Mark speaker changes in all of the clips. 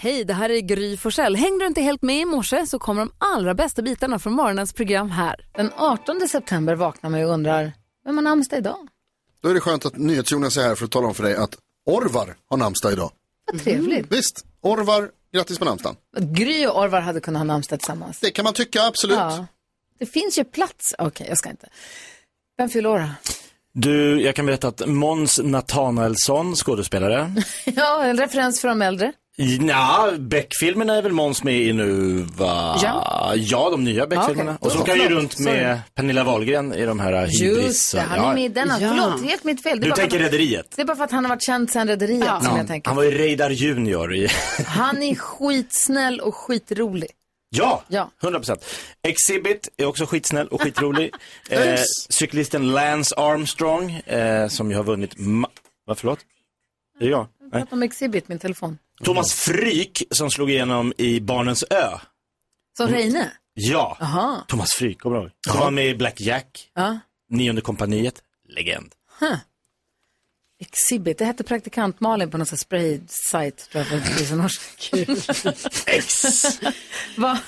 Speaker 1: Hej, det här är Gry Forssell. Hängde du inte helt med i morse så kommer de allra bästa bitarna från morgonens program här. Den 18 september vaknar man ju och undrar, vem har namnsdag idag?
Speaker 2: Då är det skönt att NyhetsJonas är här för att tala om för dig att Orvar har namnsdag idag.
Speaker 1: Vad trevligt.
Speaker 2: Visst, Orvar, grattis på namnsdagen.
Speaker 1: Att Gry och Orvar hade kunnat ha namnsdag tillsammans.
Speaker 2: Det kan man tycka, absolut.
Speaker 1: Ja. Det finns ju plats. Okej, jag ska inte. Vem fyller år då?
Speaker 3: Du, jag kan berätta att Måns Nathanaelsson, skådespelare.
Speaker 1: Ja, en referens för de äldre.
Speaker 3: Nja, Beck-filmerna är väl Måns med i nu, va?
Speaker 1: Ja.
Speaker 3: ja de nya Beck-filmerna.
Speaker 1: Okej,
Speaker 3: Och så
Speaker 1: då-
Speaker 3: åker han ju
Speaker 1: förlåt,
Speaker 3: runt med Pernilla Wahlgren i de här
Speaker 1: Just det,
Speaker 3: hybrisarna.
Speaker 1: han är med i denna.
Speaker 4: Ja.
Speaker 1: Förlåt, helt mitt fel. Det är
Speaker 3: Du
Speaker 1: bara för
Speaker 3: tänker
Speaker 1: att-
Speaker 3: Rederiet?
Speaker 1: Det är bara för att han har varit känd sedan Rederiet som jag tänker.
Speaker 3: Han var ju Reidar Junior i...
Speaker 1: Han är skitsnäll och skitrolig.
Speaker 3: Ja,
Speaker 1: Ja.
Speaker 3: 100%. Exhibit är också skitsnäll och skitrolig. eh, cyklisten Lance Armstrong, eh, som ju har vunnit... Ma- Vad, förlåt? Är det jag? Nej.
Speaker 1: Prata om Exhibit, min telefon.
Speaker 3: Thomas Fryk, som slog igenom i Barnens ö. Mm.
Speaker 1: Som Reine.
Speaker 3: Ja.
Speaker 1: Aha.
Speaker 3: Thomas Fryk, kommer du ihåg? Han var med i Black Jack,
Speaker 1: Ja.
Speaker 3: Nionde kompaniet, legend.
Speaker 1: Exhibit, det hette praktikant Malin på någon sån här spraysajt tror jag för tusen år sedan.
Speaker 3: Ex!
Speaker 1: Vad-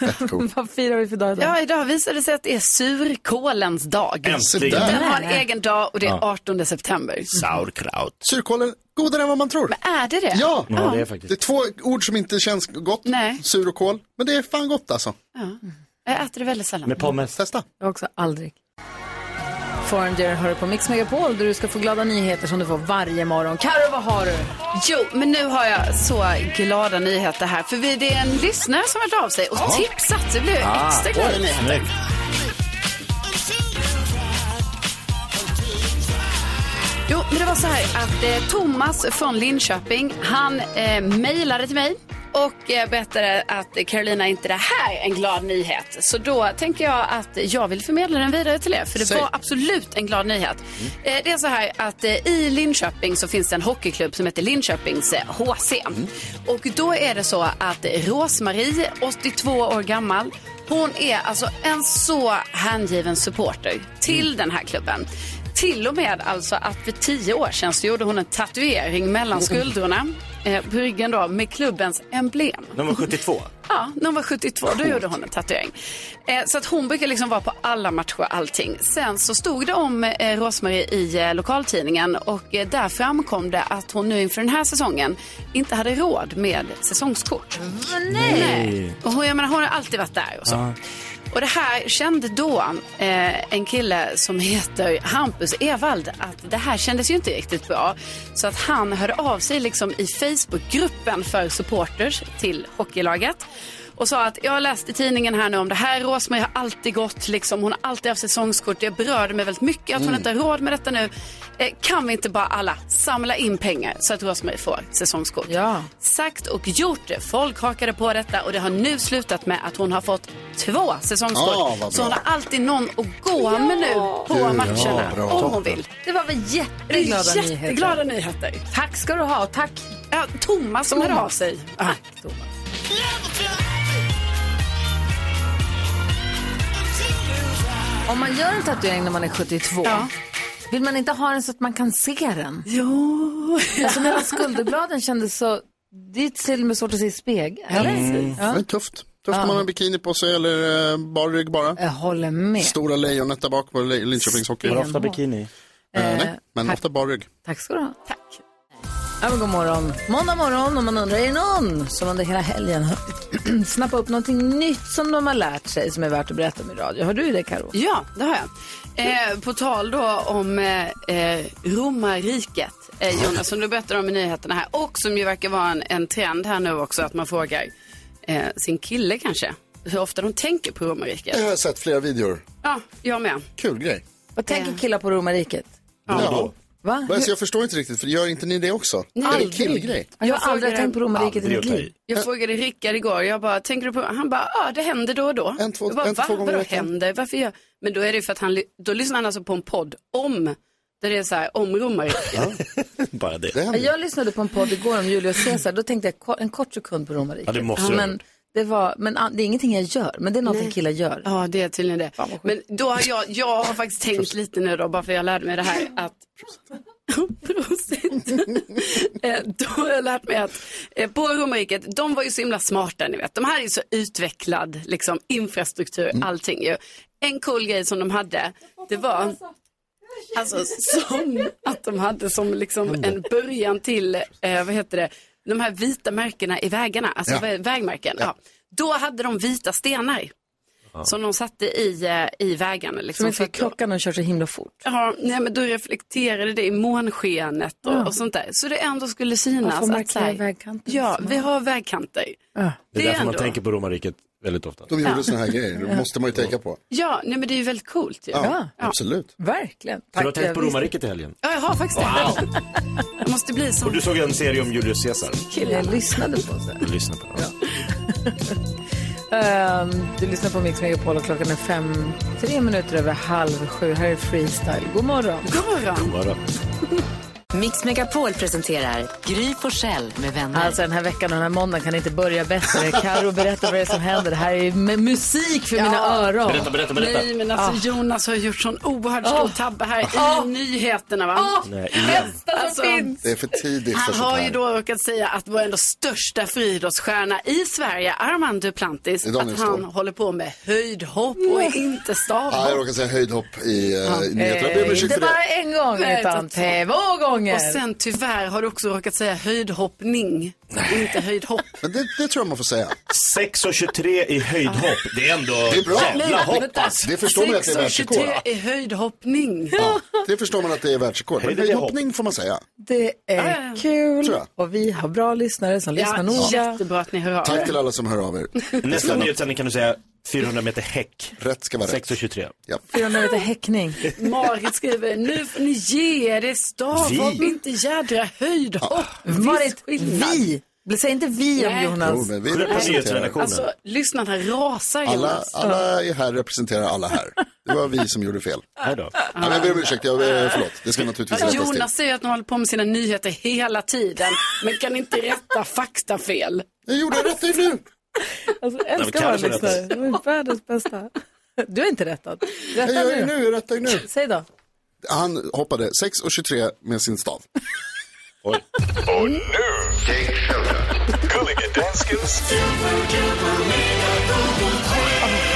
Speaker 1: Vad firar vi för dag idag?
Speaker 4: Ja, idag visar det sig att det är surkålens dag.
Speaker 2: Se
Speaker 3: Äntligen.
Speaker 2: där.
Speaker 4: Den har en egen dag och det är 18 september.
Speaker 3: Sauerkraut.
Speaker 2: Surkålen, godare än vad man tror.
Speaker 4: Är det det?
Speaker 2: Ja,
Speaker 3: Ja, det är
Speaker 2: det är
Speaker 3: faktiskt.
Speaker 2: två ord som inte känns gott.
Speaker 4: Nej.
Speaker 2: Sur och kål, men det är fan gott alltså.
Speaker 4: Jag äter det väldigt sällan.
Speaker 3: Med pommes.
Speaker 2: Testa.
Speaker 1: Jag har också aldrig. Foreigner hör du på Mix Megapol där du ska få glada nyheter som du får varje morgon. Karo, vad har du?
Speaker 4: Jo, men nu har jag så glada nyheter här. För vi- det är en lyssnare som har hört av sig och tipsat. Det blev
Speaker 3: Ah,
Speaker 4: extra glada nyheter.
Speaker 3: Snyggt.
Speaker 4: Jo, men det var så här att eh, Thomas från Linköping, han eh, mejlade till mig och eh, berättade att eh, Carolina, inte det här är en glad nyhet. Så då tänker jag att jag vill förmedla den vidare till er, för det
Speaker 2: Säg.
Speaker 4: var absolut en glad nyhet. Eh, det är så här att eh, i Linköping så finns det en hockeyklubb som heter Linköpings eh, HC. Och då är det så att eh, Rosmarie, 82 år gammal, hon är alltså en så hängiven supporter till den här klubben. Till och med alltså att för tio år sedan så gjorde hon en tatuering mellan skuldrorna eh, på ryggen då med klubbens emblem.
Speaker 3: Nummer 72.
Speaker 4: Ja, när hon var 72 då gjorde hon en tatuering. Eh, så att hon brukar liksom vara på alla matcher och allting. Sen så stod det om eh, Rosmarie i eh, lokaltidningen och eh, där framkom det att hon nu inför den här säsongen inte hade råd med säsongskort.
Speaker 1: Ah,
Speaker 4: Nej. Och hon, jag menar, hon har alltid varit där och så. Och det här kände då eh, en kille som heter Hampus Evald att det här kändes ju inte riktigt bra. Så att han hörde av sig liksom i Facebookgruppen för supporters till hockeylaget och sa att jag läste i tidningen här nu om det här. Rosmarie har alltid gått, liksom, hon har alltid haft säsongskort. Det berörde mig väldigt mycket att hon inte har råd med detta nu. Eh, kan vi inte bara alla samla in pengar så att Rosmarie får säsongskort?
Speaker 1: Ja.
Speaker 4: Sagt och gjort. det. Folk hakade på detta och det har nu slutat med att hon har fått två säsongskort.
Speaker 2: Ja, vad bra.
Speaker 4: så hon har alltid någon att gå med nu på matcherna
Speaker 2: bra.
Speaker 4: om hon vill.
Speaker 1: Det var väl
Speaker 4: Det är
Speaker 1: jätteglada nyheter.
Speaker 4: jätteglada nyheter.
Speaker 1: Tack ska du ha. Tack,
Speaker 4: Ja, Thomas som hörde av sig.
Speaker 1: Ah.
Speaker 4: Ah. Ja.
Speaker 1: Thomas. Om man gör en tatuering när man är 72,
Speaker 4: Ja.
Speaker 1: vill man inte ha den så att man kan se den?
Speaker 4: Jo.
Speaker 1: Alltså medan skulderbladen kändes så... Det är till och med svårt att se i spegeln. Eller?
Speaker 3: Mm.
Speaker 2: Det är tufft. Tufft om man har bikini på sig eller eh, bar rygg bara.
Speaker 1: Jag håller med.
Speaker 2: Stora lejonet där bak på Le- Linköpings hockey.
Speaker 3: Har ofta bikini.
Speaker 2: Eh,
Speaker 1: Eh,
Speaker 2: nej, men ofta bar rygg.
Speaker 1: Tack ska du ha.
Speaker 4: Tack.
Speaker 1: Ja, men god morgon. Måndag morgon om man undrar, är det någon som under hela helgen har snappat upp någonting nytt som de har lärt sig som är värt att berätta om i radio? Har du det Karo?
Speaker 4: Ja, det har jag. Eh, på tal då om eh, eh, romarriket, eh, Jonas, som du berättade om i nyheterna här och som ju verkar vara en, en trend här nu också att man frågar eh, sin kille kanske hur ofta de tänker på romarriket.
Speaker 2: Jag har sett flera videor.
Speaker 4: Ja, jag med.
Speaker 2: Kul grej.
Speaker 1: Vad tänker killar på romarriket?
Speaker 2: Ja.
Speaker 1: Va?
Speaker 2: Men alltså, jag förstår inte riktigt, för gör inte ni det också? är det en killgrej?
Speaker 1: Jag,
Speaker 4: Jag
Speaker 1: har aldrig
Speaker 4: frågar
Speaker 1: tänkt på romarriket i
Speaker 3: aldrig
Speaker 1: mitt
Speaker 3: att ta
Speaker 1: liv.
Speaker 3: i.
Speaker 4: Jag frågade Rickard igår, jag bara, tänker du på Han bara, ja det händer då och då.
Speaker 2: En, två-
Speaker 4: jag bara,
Speaker 2: en, två
Speaker 4: "Va?
Speaker 2: gånger i
Speaker 4: Vadå
Speaker 2: veckan."
Speaker 4: händer? Varför gör... Men då är det ju för att han, ly- då lyssnar han alltså på en podd om, där det är så här, om romarriket.
Speaker 3: Bara det.
Speaker 2: Det händer.
Speaker 1: Jag lyssnade på en podd igår om Julius Caesar. Då tänkte jag ko- en kort sekund på romarriket.
Speaker 3: Ja, det måste du ha
Speaker 1: men
Speaker 3: gjort.
Speaker 1: det, var, men ah, det är ingenting jag gör, men det är någonting killar gör.
Speaker 4: Ja, det är tydligen det. Men då har jag, jag har faktiskt tänkt lite nu då, bara för jag lärde mig det här, att Prosit. Eh, Då har jag lärt mig att eh, på romarriket, de var ju så himla smarta ni vet. De hade ju så utvecklad liksom, infrastruktur,
Speaker 2: Mm.
Speaker 4: allting ju. En cool grej som de hade, det var alltså, som att de hade som liksom en början till, eh, vad heter det, de här vita märkena i vägarna, alltså
Speaker 2: Ja.
Speaker 4: vä- vägmärken. Ja. Då hade de vita stenar som de satte i, eh, i vägarna.
Speaker 1: Som
Speaker 4: Liksom,
Speaker 1: inte
Speaker 4: att-
Speaker 1: klockan och kör så himla fort.
Speaker 4: Ja, nej, men då reflekterade det i månskenet och, och sånt där. Så det ändå skulle synas.
Speaker 1: Man får
Speaker 4: att, så
Speaker 1: markera
Speaker 4: här,
Speaker 1: vägkanten.
Speaker 4: Ja, vi har vägkanter.
Speaker 3: Det är
Speaker 4: Det är
Speaker 3: därför man
Speaker 4: ändå-
Speaker 3: tänker på romarriket väldigt ofta.
Speaker 2: De gjorde såna här grejer, det måste man ju tänka på.
Speaker 4: Ja, nej, men det är ju väldigt coolt ju. Ja.
Speaker 2: Ja, absolut.
Speaker 1: Verkligen.
Speaker 3: Har du har tänkt på
Speaker 1: jag visste-
Speaker 3: romarriket i helgen?
Speaker 4: jag har faktiskt det. Jag måste bli
Speaker 3: Och
Speaker 4: sån
Speaker 3: du såg en serie om Julius Caesar?
Speaker 4: kille.
Speaker 1: Jag lyssnade på det.
Speaker 3: Lyssna på den.
Speaker 1: Ehm, du lyssnar på Mix Megapol och klockan är fem, tre minuter över halv sju. Här är Freestyle. God morgon.
Speaker 4: God morgon.
Speaker 3: Bara.
Speaker 5: Mix Megapol presenterar Gry Forssell med vänner.
Speaker 1: Alltså den här veckan och den här måndagen kan inte börja bättre. Karo berätta vad det är som händer. Det här är ju med musik för mina öron.
Speaker 3: Berätta, berätta, berätta.
Speaker 4: Nej, men alltså Jonas har gjort sån oerhört stor tabbe här i nyheterna va?
Speaker 3: Nej, igen.
Speaker 4: Alltså,
Speaker 2: Det är för tidigt för
Speaker 4: han
Speaker 2: sånt
Speaker 4: har ju
Speaker 2: här.
Speaker 4: då råkat säga att vår ändå största friidrottsstjärna i Sverige, Armand Duplantis,
Speaker 2: Det är de
Speaker 4: att
Speaker 2: jag
Speaker 4: han
Speaker 2: förstår.
Speaker 4: håller på med höjdhopp och inte
Speaker 2: Ja, jag
Speaker 4: stavhopp.
Speaker 2: råkade säga höjdhopp i eh, nyheterna. Jag ber om
Speaker 1: Eh,
Speaker 2: ursäkt
Speaker 1: inte
Speaker 2: för det.
Speaker 1: bara en gång
Speaker 4: Nej,
Speaker 1: utan
Speaker 4: inte två.
Speaker 1: två gånger.
Speaker 4: Och sen tyvärr har du också råkat säga höjdhoppning, inte höjdhopp.
Speaker 2: Men det, det tror jag man får säga.
Speaker 3: 6,23 i höjdhopp. Det är ändå
Speaker 2: Det är bra.
Speaker 3: jävla hopp alltså.
Speaker 2: Det förstår man att det är världsrekord.
Speaker 4: 6,23 är höjdhoppning.
Speaker 2: Ja, det förstår man att det är världsrekord. Men
Speaker 3: Höjd eller hopp?
Speaker 2: hoppning får man säga.
Speaker 1: Det är kul.
Speaker 2: Tror jag.
Speaker 1: Och vi har bra lyssnare som lyssnar
Speaker 4: Ja,
Speaker 1: noga.
Speaker 4: jättebra att ni hör av
Speaker 2: Tack
Speaker 4: er.
Speaker 2: till alla som hör av er.
Speaker 3: Nästa nyhetssändning kan du säga 400 meter häck.
Speaker 2: Rätt ska vara rätt.
Speaker 3: 6,23.
Speaker 2: Ja.
Speaker 1: 400 meter häckning.
Speaker 4: Marit skriver, nu får ni ge er, det är stavhopp,
Speaker 3: Vi?
Speaker 4: inte jädra höjdhopp.
Speaker 1: Marit,
Speaker 4: Viss skillnad.
Speaker 1: vi. Säg inte vi om
Speaker 4: Nej.
Speaker 1: Jonas.
Speaker 2: Jo, men vi
Speaker 3: Skyll på
Speaker 2: representerar.
Speaker 3: nyhetsredaktionen.
Speaker 4: Alltså, lyssnarna rasar
Speaker 2: Alla,
Speaker 4: Jonas.
Speaker 2: alla är här representerar alla här. Det var vi som gjorde fel.
Speaker 3: Här då.
Speaker 2: Ja, men jag ber om ursäkt, jag, eh, förlåt. Det ska naturligtvis rättas till.
Speaker 4: Jonas säger att de håller på med sina nyheter hela tiden, men kan inte rätta faktafel.
Speaker 2: Jag gjorde rätt det nu.
Speaker 1: Alltså, jag
Speaker 3: men
Speaker 1: älskar våra
Speaker 3: Kalle får
Speaker 1: lyssnare. De är världens bästa. Du är inte rättat.
Speaker 2: Jag
Speaker 1: Rätta
Speaker 2: gör ju
Speaker 1: nu.
Speaker 2: nu, jag rättar ju nu.
Speaker 1: Säg då.
Speaker 2: Han hoppade 6,23 med sin stav.
Speaker 3: Oj.
Speaker 6: Gulliga danskens
Speaker 3: Det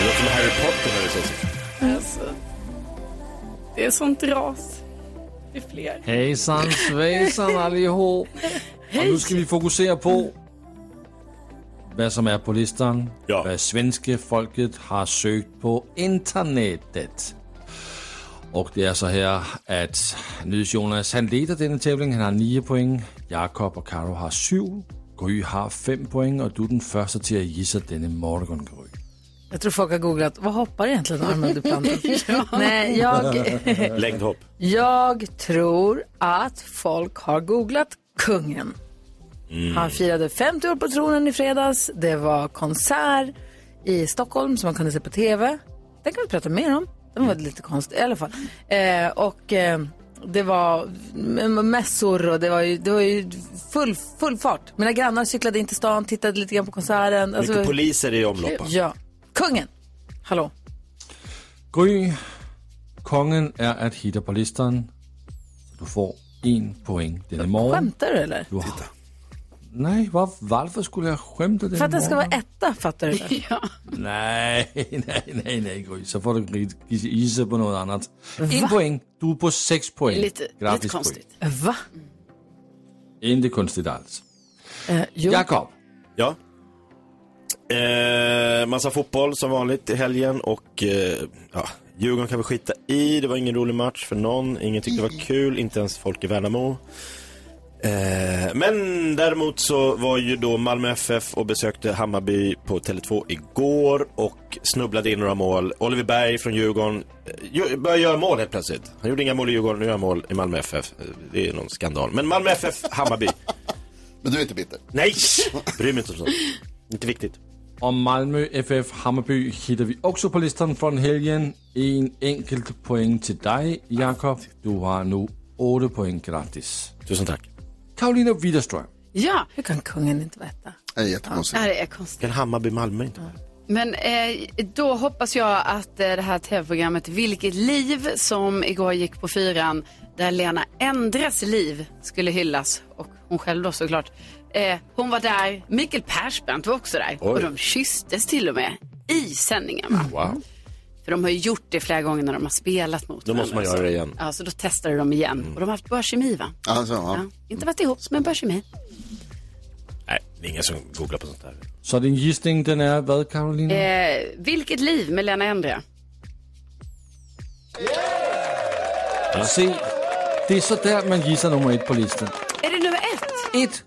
Speaker 3: låter som Harry Potter när du säger så.
Speaker 4: Det är sånt ras. Det är fler.
Speaker 7: Hejsan svejsan allihop! Och nu ska vi fokusera på vad som är på listan.
Speaker 3: Ja.
Speaker 7: Vad svenska folket har sökt på internetet. Och det är så här att NyhetsJonas han leder denna tävling. Han har 9 poäng. Jakob och Karo har 7. Gry har 5 poäng och du är den första till att gissa denna morgon, Gry.
Speaker 1: Jag tror folk har googlat, vad hoppar egentligen Armand Duplantis? Nej, jag,
Speaker 3: Längdhopp.
Speaker 1: jag tror att folk har googlat kungen. Han firade 50 år på tronen i fredags. Det var konsert i Stockholm som man kunde se på tv. Den kan vi prata mer om. Den var lite konstig i alla fall. Eh, och eh, det var m- mässor och det var ju, det var ju full, full fart. Mina grannar cyklade in till stan, tittade lite grann på konserten. Alltså,
Speaker 3: Mycket poliser i omlopp.
Speaker 1: ja. Kungen! Hallå.
Speaker 7: Gry, kungen är att hitta på listan. Du får en poäng denna morgon.
Speaker 1: Skämtar du eller?
Speaker 7: Du har... Nej, var, varför skulle jag skämta den
Speaker 1: För att den ska vara
Speaker 7: morgonen?
Speaker 1: etta, fattar du? det?
Speaker 7: Nej, nej, nej, nej, Gry. Så får du gri- gissa på något annat. En poäng. Du är på sex poäng.
Speaker 4: Lite, lite
Speaker 7: Grattis, Gry.
Speaker 4: konstigt.
Speaker 1: Va?
Speaker 7: Inte konstigt alls.
Speaker 1: Eh, jo.
Speaker 7: Jakob,
Speaker 3: Ja. Eh, massa fotboll som vanligt i helgen och eh, ja, Djurgården kan vi skita i. Det var ingen rolig match för någon. Ingen tyckte det var kul, inte ens folk i Värnamo. Eh, men däremot så var ju då Malmö FF och besökte Hammarby på Tele2 igår och snubblade in några mål. Oliver Berg från Djurgården eh, gör- började göra mål helt plötsligt. Han gjorde inga mål i Djurgården, nu gör han mål i Malmö FF. Eh, Det är någon skandal. Men Malmö FF, Hammarby.
Speaker 2: Men du är inte bitter.
Speaker 3: Nej! Bryr mig inte om sånt. Inte viktigt.
Speaker 7: och Malmö FF Hammarby hittar vi också på listan från helgen. En enkel poäng till dig, Jakob. Du har nu åtta poäng. Grattis.
Speaker 3: Tusen tack.
Speaker 7: Karolina Widerström.
Speaker 4: Ja,
Speaker 1: Hur kan kungen inte vara etta?
Speaker 2: Det är jättekonstigt.
Speaker 4: det är konstigt.
Speaker 3: Kan Hammarby Malmö inte vara?
Speaker 4: Men eh, då hoppas jag att eh, det här tv-programmet Vilket liv som igår gick på fyran där Lena Endres liv skulle hyllas och hon själv då såklart. Eh, hon var där, Mikael Persbrandt var också där och de kysstes till och med i sändningen. Va?
Speaker 3: Wow.
Speaker 4: För de har ju gjort det flera gånger när de har spelat mot
Speaker 3: Då måste man
Speaker 4: varandra och
Speaker 3: göra det Mm.
Speaker 4: så.
Speaker 3: igen.
Speaker 4: Ja, så då testade de igen och de har haft bra kemi va?
Speaker 2: Alltså,
Speaker 4: Ja.
Speaker 2: ja.
Speaker 4: Inte varit ihop men bra kemi.
Speaker 3: Nej, det är ingen som googlar på sånt här.
Speaker 7: Så din gissning den är vad
Speaker 1: Øh,
Speaker 7: Karolina?
Speaker 4: Eh, vilket liv med Lena Endre?
Speaker 7: Se, det är så där man gissar nummer ett på listan.
Speaker 4: Är det nummer ett?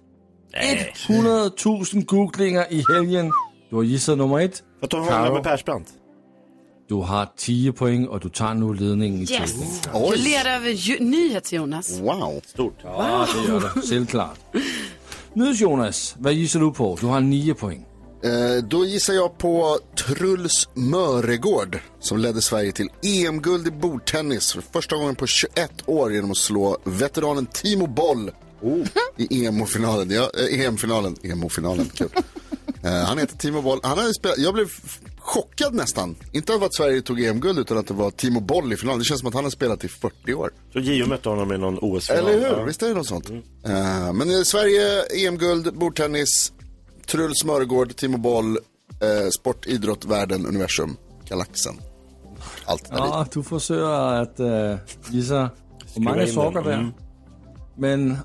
Speaker 7: Ett, 100 000 googlinger i helgen. Du har gissat nummer ett.
Speaker 3: Vad tar
Speaker 7: Karo.
Speaker 3: hon med Persbrandt?
Speaker 7: Du har 10 poäng och du tar nu ledningen i
Speaker 4: Yes.
Speaker 7: tävlingen.
Speaker 4: Du
Speaker 2: Oj,
Speaker 4: leder över ju- nyhets
Speaker 3: Mm.
Speaker 4: Jonas.
Speaker 2: wow.
Speaker 3: Stort.
Speaker 7: Ja, det gör det. Självklart. Nu Jonas, vad gissar du på? Du har 9 poäng.
Speaker 2: Eh, då gissar jag på Truls Möregård som ledde Sverige till EM-guld i bordtennis för första gången på 21 år genom att slå veteranen Timo Boll i EM-finalen. Ja, eh, EM-finalen. EM-finalen, kul. Eh, han heter Timo Boll. Han hade spelat, jag blev f- chockad nästan. Inte av att Sverige tog EM-guld utan att det var Timo Boll i finalen. Det känns som att han har spelat i 40 år.
Speaker 3: Så Gio mötte honom i någon OS-final.
Speaker 2: Eller hur?
Speaker 3: Ja.
Speaker 2: Visst är det något sånt? Eh, men eh, Sverige, EM-guld, bordtennis, Truls Smörgård, Timo Boll, eh, sport, idrott, världen, universum, galaxen. Allt där i.
Speaker 7: Ja, du försöker att äh, gissa på
Speaker 3: in
Speaker 7: många
Speaker 3: den,
Speaker 7: saker där.
Speaker 3: mm.
Speaker 7: Men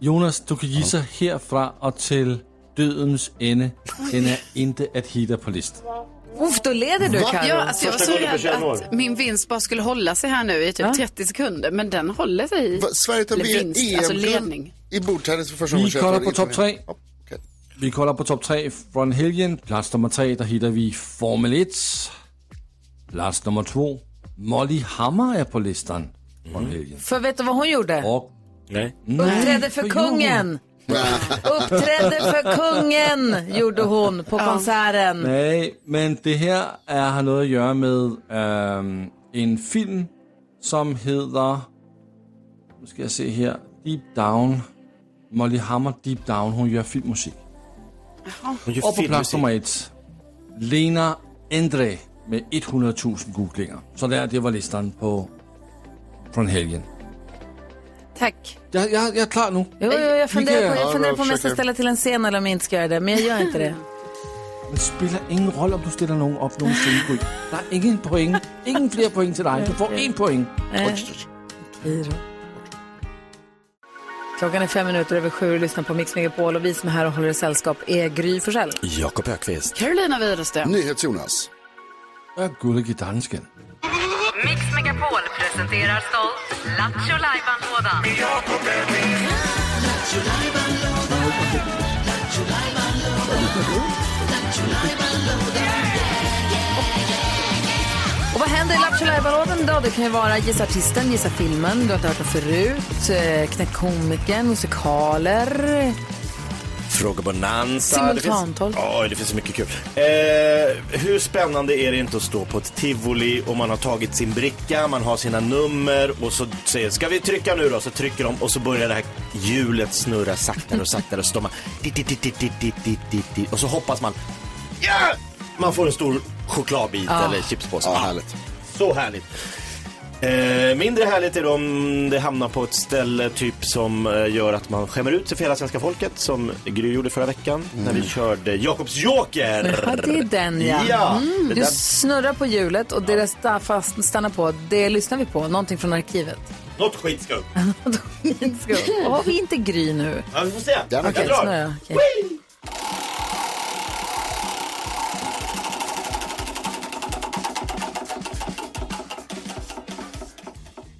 Speaker 7: Jonas, du kan gissa härifrån och till dödens ände. Den är inte att hitta på listan.
Speaker 1: Uff, då leder du Carro.
Speaker 4: Ja, alltså jag var
Speaker 3: Första
Speaker 4: så
Speaker 3: gången på
Speaker 4: rädd
Speaker 3: 21 år.
Speaker 4: att min vinst bara skulle hålla sig här nu i typ 30 sekunder, men den håller sig i.
Speaker 2: Va, Sverige tar
Speaker 4: Eller
Speaker 2: VM,
Speaker 4: vinst, alltså
Speaker 2: EM-guld
Speaker 4: ledning.
Speaker 2: i bordtennis för första
Speaker 7: Vi
Speaker 2: gången. 21
Speaker 7: kollar
Speaker 2: år.
Speaker 7: på topp tre.
Speaker 2: Ja, okej.
Speaker 7: Vi kollar på topp 3 från helgen. Plats nummer 3, där hittar vi Formel 1. Plats nummer 2, Molly Hammar är på listan från helgen.
Speaker 1: För vet du vad hon gjorde?
Speaker 7: Och
Speaker 3: Nej.
Speaker 1: Uppträdde för
Speaker 7: för
Speaker 1: kungen. Uppträdde för kungen gjorde hon på konserten.
Speaker 7: Nej, men det här är, har noget at gøre med øhm, en film, som hedder... Nu skal jeg se her. Deep Down. Molly Hammer Deep Down. Hun gør filmmusik.
Speaker 3: Hon gör
Speaker 7: Og på plads
Speaker 3: filmmusik.
Speaker 7: nummer et. Lena Endre med 100.000 googlinger. Så der, det var listeren på fra helgen.
Speaker 4: Tack.
Speaker 7: Jeg, jeg, jeg er klar nu.
Speaker 1: Jo, jo, jag funderar på,
Speaker 7: Ja,
Speaker 1: jag funderar på om jag ska
Speaker 2: försöker.
Speaker 1: ställa till en scen eller om jag inte ska göra det, men jag gör inte det.
Speaker 7: Det spiller ingen rolle, om du stiller nogen op nogen Gry. Der er ingen point. Ingen flere point til dig. Du får én point.
Speaker 1: Iro. Klockan är fem minuter över sju och lyssnar på Mix Megapol och vi som är här och håller i sällskap är Gry Forssell.
Speaker 3: Jakob Högqvist.
Speaker 4: Carolina Widerström.
Speaker 2: NyhetsJonas.
Speaker 7: Og gullig i dansken.
Speaker 5: Mix Megapol presenterar stolt Lattjo Lajban-lådan.
Speaker 1: Och vad händer i Lattjo Lajban-lådan idag? Det kan ju vara Gissa artisten, Gissa filmen, Du har inte hört den förut, eh, Knäck komikern, musikaler.
Speaker 3: Fråga Bonanza.
Speaker 1: Simultantolk.
Speaker 3: Det finns- Oj, det finns så mycket kul. Eh, hur spännande är det inte att stå på ett tivoli och man har tagit sin bricka, man har sina nummer och så säger ska vi trycka nu då? Så trycker de och så börjar det här hjulet snurra saktare och saktare och så står man dit, dit, dit, dit, dit, dit, dit, dit, dit. och så hoppas man ja! Man får en stor chokladbit eller chipspåse.
Speaker 2: Ja, härligt.
Speaker 3: Så härligt. Eh, mindre härligt är det om det hamnar på ett ställe typ som eh, gör att man skämmer ut sig för hela svenska folket som Gry gjorde förra veckan när vi körde Jakobs Joker.
Speaker 1: Ja, det är den ja. Mm,
Speaker 3: Ja, det
Speaker 1: Du
Speaker 3: där-
Speaker 1: snurrar på hjulet och det där sta- fast- stannar på, det lyssnar vi på, någonting från arkivet.
Speaker 3: Något skit ska upp.
Speaker 1: Och har vi inte Gry nu?
Speaker 3: Ja, vi får se.
Speaker 2: Gärna.
Speaker 3: jag
Speaker 1: Okej,
Speaker 3: drar.
Speaker 1: snurra. Okej.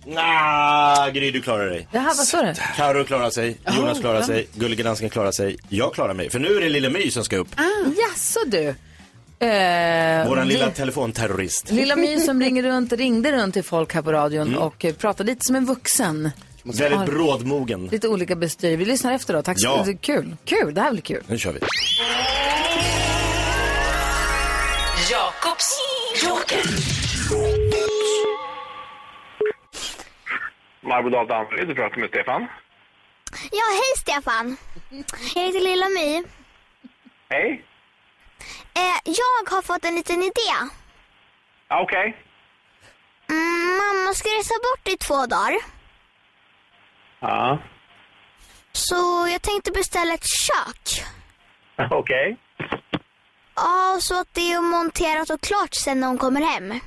Speaker 3: Nja, Gry du klarar dig.
Speaker 1: Jaha, vad står det?
Speaker 3: Karo klarar sig, Jonas klarar sig, Gullige Dansken klarar sig, jag klarar mig. För nu är det Lille My som ska upp.
Speaker 1: Jaså du? Eh,
Speaker 3: Våran lilla
Speaker 1: li-
Speaker 3: telefonterrorist.
Speaker 1: lilla My som ringer runt, ringde runt till folk här på radion
Speaker 3: Mm.
Speaker 1: och eh, pratade lite som en vuxen.
Speaker 3: Väldigt brådmogen.
Speaker 1: Lite olika bestyr. Vi lyssnar efter då. Tack så
Speaker 3: Ja.
Speaker 1: mycket. Kul. Kul. Det här blir kul.
Speaker 3: Nu kör vi.
Speaker 5: Jakobs Joker.
Speaker 8: Barbro Dahl Danderyd, du pratar med Stefan.
Speaker 9: Ja, hej Stefan. Jag heter Lilla My.
Speaker 8: Hej.
Speaker 9: Eh, jag har fått en liten idé.
Speaker 8: Ja, Okej.
Speaker 9: Mm, mamma ska resa bort i två dagar.
Speaker 8: Ja,
Speaker 9: Så jag tänkte beställa ett kök.
Speaker 8: okej.
Speaker 9: Ja, så att det är monterat och klart sen när hon kommer hem.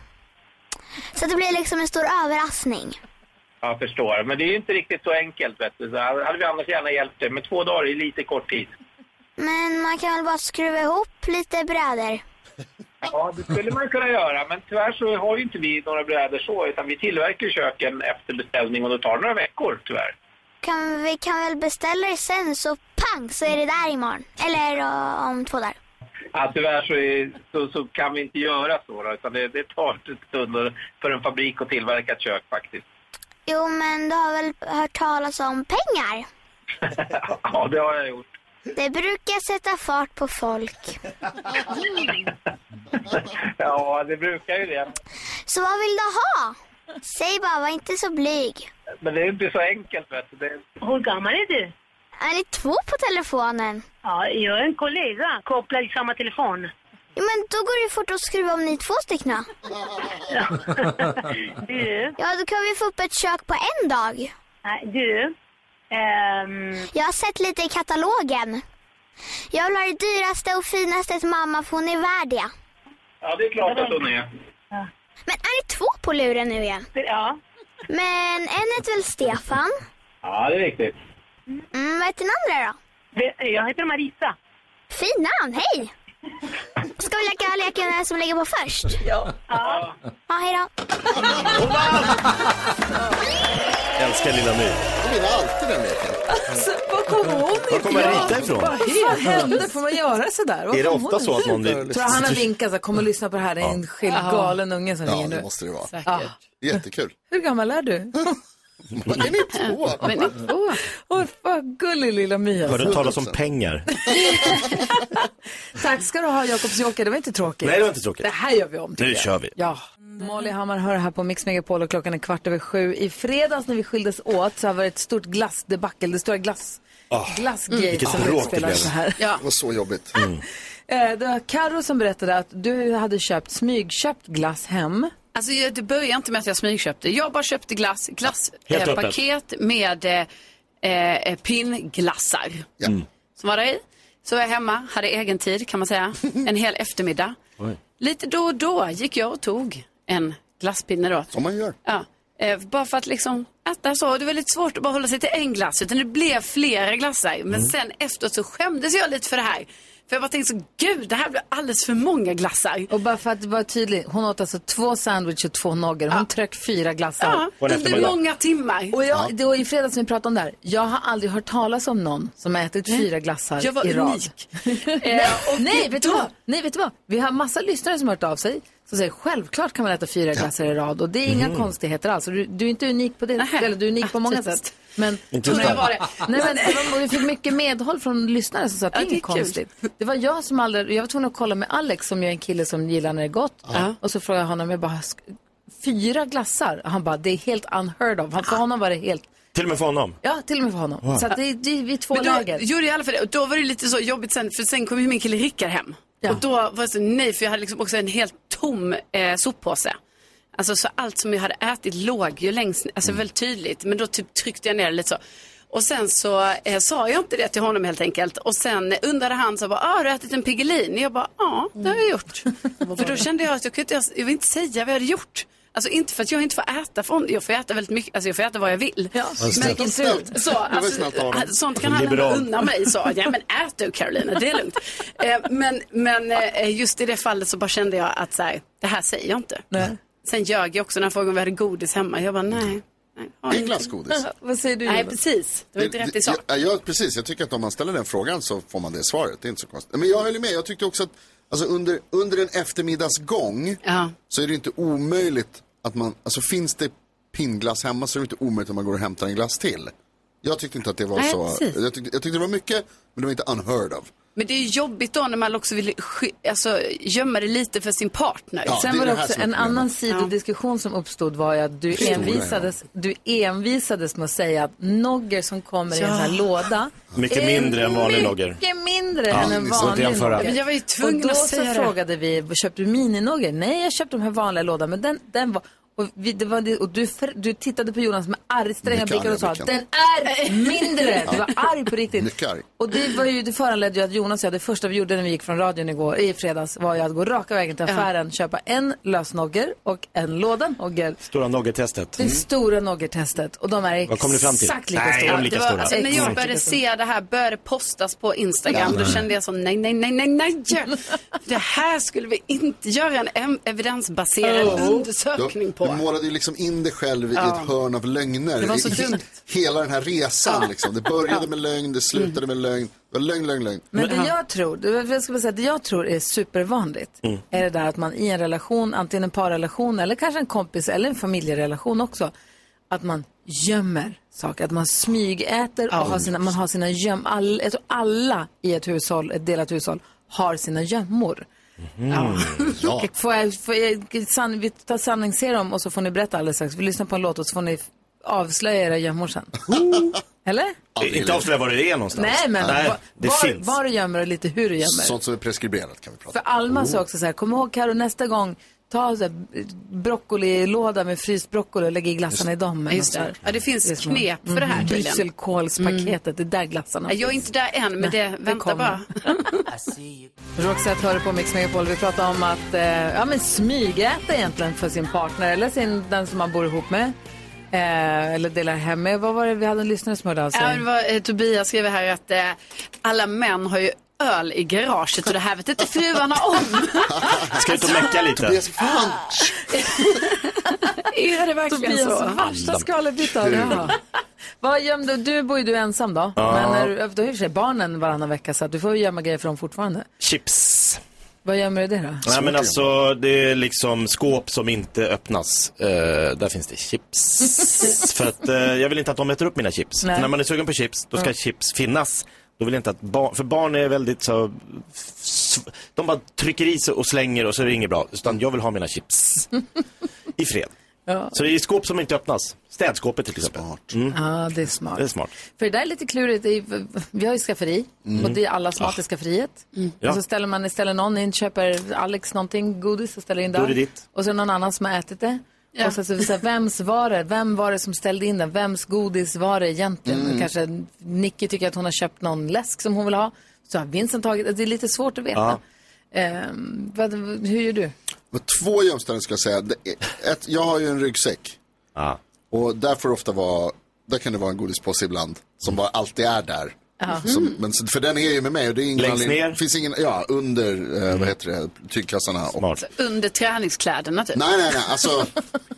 Speaker 9: Så att det blir liksom en stor överraskning.
Speaker 8: Jag förstår. Men det är ju inte riktigt så enkelt, vet du. Så här hade vi annars gärna hjälpt dig. Men två dagar är lite kort tid.
Speaker 9: Men man kan väl bara skruva ihop lite brädor.
Speaker 8: Ja, det skulle man kunna göra. Men tyvärr så har ju inte vi några brädor så, utan vi tillverkar ju köken efter beställning och det tar några veckor, tyvärr.
Speaker 9: Kan, vi kan väl beställa det sen så pang så är det där imorgon. Eller eh, om två dagar.
Speaker 8: Ja, tyvärr så, är, så, så kan vi inte göra så, då, utan det, det tar en stund för en fabrik att tillverka ett kök faktiskt.
Speaker 9: Jo, men du har väl hört talas om pengar?
Speaker 8: Ja, det har jag gjort.
Speaker 9: Det brukar sätta fart på folk.
Speaker 8: Ja, det brukar ju det.
Speaker 9: Så vad vill du ha? Säg bara, var inte så blyg.
Speaker 8: Men det är inte så enkelt, vet du. Det,
Speaker 10: Hur gammal är du?
Speaker 9: Är ni två på telefonen?
Speaker 10: Ja, jag är en kollega. Kopplar i samma telefon.
Speaker 9: Jo, men då går det ju fort att skruva om ni är två stycken. då.
Speaker 10: Du,
Speaker 9: Ja, då kan vi få upp ett kök på en dag.
Speaker 10: nej, du. Ehm,
Speaker 9: Jag har sett lite i katalogen. Jag vill ha det dyraste och finaste till mamma för hon är värd det.
Speaker 8: ja, det är klart att hon är.
Speaker 9: Men är ni två på luren nu igen?
Speaker 10: ja,
Speaker 9: Men en heter väl Stefan?
Speaker 8: Ja, det är riktigt.
Speaker 9: Mm, vad heter den andra då?
Speaker 10: det- jag heter Marisa.
Speaker 9: Fint namn, hej! Ska vi leka leken vem som lägger på först? Ja. Ja, hej då.
Speaker 3: Älskar Lilla My.
Speaker 2: Jag vinner alltid den leken.
Speaker 1: Alltså, vad kom hon ifrån?
Speaker 3: Var kommer Rita ifrån?
Speaker 1: Vad hände? Får man göra sådär? Var
Speaker 3: Är det
Speaker 1: kom
Speaker 3: ofta
Speaker 1: hon
Speaker 3: så att någon...
Speaker 1: Jag tror han har vinkat så här, kom och lyssna på det här, det är en skild galen unge som
Speaker 2: Ja,
Speaker 1: ringer
Speaker 2: det
Speaker 1: nu.
Speaker 2: måste det vara.
Speaker 1: Ja.
Speaker 2: Jättekul.
Speaker 1: Hur gammal är du?
Speaker 2: Vad är ni två?
Speaker 4: Men ni två.
Speaker 1: Åh, vad gullig lilla My
Speaker 3: Hörde
Speaker 1: alltså.
Speaker 3: du talas om pengar?
Speaker 1: Tack ska du ha Jakobsjoker, det var inte tråkigt.
Speaker 3: Nej, det var inte tråkigt.
Speaker 1: Det här gör vi om tycker
Speaker 3: Nu
Speaker 1: jag.
Speaker 3: kör vi.
Speaker 1: Ja. Molly Hammar hör här på Mix Megapol och klockan är kvart över sju. I fredags när vi skildes åt så har det varit ett stort glassdebacle, det stora glass, glassgate
Speaker 3: Ah, vilket
Speaker 1: som
Speaker 3: bråk det
Speaker 1: utspelar
Speaker 3: blev.
Speaker 1: så här.
Speaker 4: Ja.
Speaker 2: Det var så jobbigt.
Speaker 1: Eh, Det var Karo som berättade att du hade köpt, smygköpt glass hem.
Speaker 4: Alltså jag- det började inte med att jag smygköpte. Jag bara köpte glass,
Speaker 3: Helt öppet.
Speaker 4: glasspaket med eh, eh, pinnglassar.
Speaker 2: Ja.
Speaker 3: Mm.
Speaker 4: Som var där i. Så var jag hemma, hade egen tid kan man säga. En hel eftermiddag. Lite då och då gick jag och tog en glasspinne då.
Speaker 2: Som man gör.
Speaker 4: Ja, eh, bara för att liksom äta så. Det var lite svårt att bara hålla sig till en glass, utan det blev flera glassar. Men
Speaker 3: Mm.
Speaker 4: sen efteråt så skämdes jag lite för det här. För jag bara tänkte så, gud, det här blev alldeles för många glassar.
Speaker 1: Och bara för att vara tydlig, hon åt alltså två sandwich och två noggar. Hon tröck fyra glassar.
Speaker 4: Ja,
Speaker 3: en
Speaker 4: under
Speaker 3: eftermiddag.
Speaker 4: många timmar.
Speaker 1: Och jag, det var i fredags vi pratade om det här. Jag har aldrig hört talas om någon som har ätit fyra glassar
Speaker 4: Jag var
Speaker 1: i rad.
Speaker 4: unik.
Speaker 1: Eh, och Nej, vet du vad? Nej, vet du vad? Vi har massa lyssnare som har hört av sig som säger självklart kan man äta fyra glassar i rad och det är inga konstigheter alls. Och Du, du är inte unik på det,
Speaker 4: Nähä.
Speaker 1: eller du är unik på många
Speaker 4: Typiskt.
Speaker 1: sätt. Men,
Speaker 3: Inte just
Speaker 1: Nej,
Speaker 3: det.
Speaker 1: var det. Nej, men, de- och vi fick mycket medhåll från lyssnare som sa att
Speaker 4: Ja,
Speaker 1: det är
Speaker 4: det är
Speaker 1: inget konstigt. Det var jag som aldrig, jag var tvungen att kolla med Alex som ju är en kille som gillar när det är gott. Och så frågade jag honom, jag bara, "Sk- fyra glassar? Och Han bara, det är helt unheard of. Han, för honom var det helt,
Speaker 3: Till och med för honom.
Speaker 1: ja till och med för honom. Så att det, det, vi är två
Speaker 4: Men då
Speaker 1: läger.
Speaker 4: gjorde jag i alla fall det. Och då var det lite så jobbigt sen, för sen kom ju min kille Rickard hem. Och då var det så, nej, för jag hade liksom också en helt tom eh, soppåse. Alltså så allt som jag hade ätit låg ju längst ner, alltså väldigt tydligt. Men då typ tryckte jag ner det lite så. Och sen så eh, sa jag inte det till honom helt enkelt. Och sen undrade han så bara, ah, har du ätit en Piggelin? Jag bara, ja det har jag gjort. för då kände jag att jag kunde inte, ens- jag vill inte säga vad jag hade gjort. Alltså inte för att jag inte får äta från, jag får äta väldigt mycket, alltså jag får äta vad jag vill. Men,
Speaker 2: snällt.
Speaker 4: så,
Speaker 2: Det var
Speaker 4: alltså,
Speaker 2: snällt av honom.
Speaker 4: sånt kan han
Speaker 3: Liberal.
Speaker 4: ändå unna mig. Så, ja, men ät du Carolina, det är lugnt. Eh, men men eh, just i det fallet så bara kände jag att så här, det här säger jag inte.
Speaker 1: Nej.
Speaker 4: Sen ljög jag också när han frågade om vi hade godis hemma. Jag bara nej. nej, har
Speaker 2: En
Speaker 4: inte.
Speaker 2: glassgodis.
Speaker 1: Vad säger du
Speaker 4: Nej,
Speaker 1: Jonas?
Speaker 4: precis. Det var inte rätt i sak.
Speaker 2: Ja, ja, precis. Jag tycker att om man ställer den frågan så får man det svaret. Det är inte så konstigt. Men jag höll ju med. Jag tyckte också att alltså, under, under en eftermiddagsgång
Speaker 4: Ja.
Speaker 2: så är det ju inte omöjligt att man, alltså finns det pinnglass hemma så är det inte omöjligt att man går och hämtar en glass till. Jag tyckte inte att det var
Speaker 4: Nej,
Speaker 2: så,
Speaker 4: precis.
Speaker 2: jag tyckte, jag tyckte det var mycket, men det var inte unheard of.
Speaker 4: Men det är ju jobbigt då när man också vill sky- alltså, gömma det lite för sin partner.
Speaker 1: Sen var det också en annan sidodiskussion som uppstod var ju att du
Speaker 4: Historia,
Speaker 1: envisades, du envisades med att säga att nogger som kommer i en sån här
Speaker 4: Ja.
Speaker 1: låda
Speaker 3: Mycket
Speaker 1: är
Speaker 3: mindre än vanlig nogger.
Speaker 1: mycket mindre
Speaker 3: Ja,
Speaker 1: än en
Speaker 3: det är svårt att
Speaker 1: vanlig
Speaker 3: jämföra.
Speaker 1: nogger.
Speaker 3: Men
Speaker 4: jag var ju tvungen
Speaker 1: och då
Speaker 4: att säga
Speaker 1: så
Speaker 4: det.
Speaker 1: frågade vi, köpte du mininogger? Nej, jag köpte de här vanliga lådan, men den, den var... Och, vi, det var, det- och du, för, du tittade på Jonas med argstränga
Speaker 2: Mycket
Speaker 1: blickar och sa
Speaker 2: arga
Speaker 1: den
Speaker 2: blickar.
Speaker 1: är mindre. Du var arg på riktigt.
Speaker 2: Mycket arg.
Speaker 1: Och det, var ju, det föranledde ju att Jonas och jag, det första vi gjorde när vi gick från radion igår, i fredags var ju att gå raka vägen till affären, köpa en lösnogger och en låda nogger.
Speaker 3: Stora noggetestet.
Speaker 1: Det stora noggertestet. Och de är
Speaker 3: Mm. Vad kom ni fram till?
Speaker 1: exakt lika
Speaker 3: Nej, de
Speaker 1: stora.
Speaker 3: är lika
Speaker 1: Det var-
Speaker 3: stora. Mm.
Speaker 1: alltså,
Speaker 4: Alltså, när jag
Speaker 1: exakt
Speaker 4: började
Speaker 1: lika stora.
Speaker 4: se det här, började postas på Instagram,
Speaker 1: Ja.
Speaker 4: då
Speaker 1: Nej.
Speaker 4: kände jag så nej, nej, nej, nej, nej. Det här skulle vi inte göra en em- evidensbaserad undersökning
Speaker 2: Du
Speaker 4: på.
Speaker 2: målade ju liksom in dig själv i
Speaker 4: Ja.
Speaker 2: ett hörn av lögner.
Speaker 4: Det var så
Speaker 2: I- i-
Speaker 4: dumt.
Speaker 2: Hela den här resan liksom. Det började med lögn, det
Speaker 4: Mm.
Speaker 2: slutade med lögn. Det var lögn, lögn, lögn.
Speaker 1: Men det jag tror, det, jag ska bara säga, det jag tror är supervanligt
Speaker 2: Mm.
Speaker 1: är det där att man i en relation, antingen en parrelation eller kanske en kompis eller en familjerelation också, att man gömmer saker, att man smygäter och har sina, man har sina göm... All, jag tror alla i ett hushåll, ett delat hushåll, har sina gömmor.
Speaker 11: Mm.
Speaker 1: Ja. Får jag, får jag san, vi tar sanningsserum och så får ni berätta alldeles strax. Vi lyssnar på en låt och så får ni f- avslöja era gömmor sen. Eller?
Speaker 3: Inte avslöja var det är någonstans.
Speaker 1: Nej, men
Speaker 3: Nej,
Speaker 1: va-
Speaker 3: det
Speaker 1: var,
Speaker 3: finns.
Speaker 1: var du gömmer och lite hur du gömmer.
Speaker 2: Sånt som är preskriberat kan vi prata
Speaker 1: För Alma
Speaker 4: Oh.
Speaker 1: sa också så här, kom ihåg Karo nästa gång, ta så här, broccolilåda med fryst broccoli och lägg i glassarna i dem. eller
Speaker 4: Just
Speaker 1: något
Speaker 4: det.
Speaker 1: sånt.
Speaker 4: Ja, Alltså, det finns
Speaker 1: är små-
Speaker 4: knep för det här tydligen. Mm.
Speaker 1: Brysselkålspaketet, det är där glassarna
Speaker 4: Jag är inte där än, men
Speaker 1: Nej,
Speaker 4: det, vänta
Speaker 1: kommer.
Speaker 4: bara.
Speaker 1: Roxette hör på Mix Megapol. Vi pratar om att eh, ja, men smygäta egentligen för sin partner eller sin, den som man bor ihop med. Eh, eller delar hem med. Vad var det vi hade en lyssnare som hörde av sig?
Speaker 4: Ja, det var, eh, Tobias skrev här att eh, alla män har ju öl i garaget och det här vet inte fruarna om.
Speaker 3: Ska ut och
Speaker 1: Alltså-
Speaker 3: mecka lite.
Speaker 2: Tobias, fan!
Speaker 4: är det verkligen
Speaker 1: Tobias
Speaker 4: så?
Speaker 1: värsta skalbyte av det Vad gömde du? bor ju du ensam då.
Speaker 3: Ja.
Speaker 1: Men när du, du har ju i och för sig barnen varannan vecka så att du får ju gömma grejer för dem fortfarande.
Speaker 3: Chips.
Speaker 1: Vad gömmer du i det då?
Speaker 3: Nej men alltså det är liksom skåp som inte öppnas. Eh, där finns det chips. För att eh, jag vill inte att de äter upp mina chips.
Speaker 1: Nej.
Speaker 3: För när man är sugen på chips, då ska
Speaker 1: Mm.
Speaker 3: chips finnas. Då vill jag inte att barn, för barn är väldigt så, sv- de bara trycker i sig och slänger och så är det inget bra. Utan jag vill ha mina chips. I fred.
Speaker 1: Ja.
Speaker 3: Så det är skåp som inte öppnas. Städskåpet till exempel. Mm.
Speaker 1: Ja, det är smart.
Speaker 3: Det är smart.
Speaker 1: För det där är lite klurigt. Det är- Vi har ju skafferi
Speaker 3: Mm.
Speaker 1: och det är allas mat i skafferiet.
Speaker 3: Ja.
Speaker 1: Och så ställer man ställer någon in, köper Alex någonting, godis och ställer in
Speaker 3: Då
Speaker 1: där.
Speaker 3: är det ditt.
Speaker 1: Och så är det någon annan som har ätit det. Och så, så, så, vems var det? Vem var det som ställde in den? Vems godis var det egentligen?
Speaker 3: Mm.
Speaker 1: Kanske Nicky tycker att hon har köpt någon läsk som hon vill ha. Så har Vincent tagit, det är lite svårt att veta. Ehm, vad, hur gör du?
Speaker 2: Men två gömställen ska jag säga. Det är- Ett, jag har ju en ryggsäck. Och där får det ofta vara, där kan det vara en godispåse ibland.
Speaker 3: Mm.
Speaker 2: Som bara alltid är där.
Speaker 1: Ja.
Speaker 2: Som, men, så- för den är ju med mig. Och det är ingen
Speaker 3: Längst
Speaker 2: anledning-
Speaker 3: ner? Mm.
Speaker 2: Finns ingen, ja, under, eh, vad heter det, tygkassarna. Smart.
Speaker 4: Under träningskläderna typ.
Speaker 2: Nej, nej, nej. Alltså,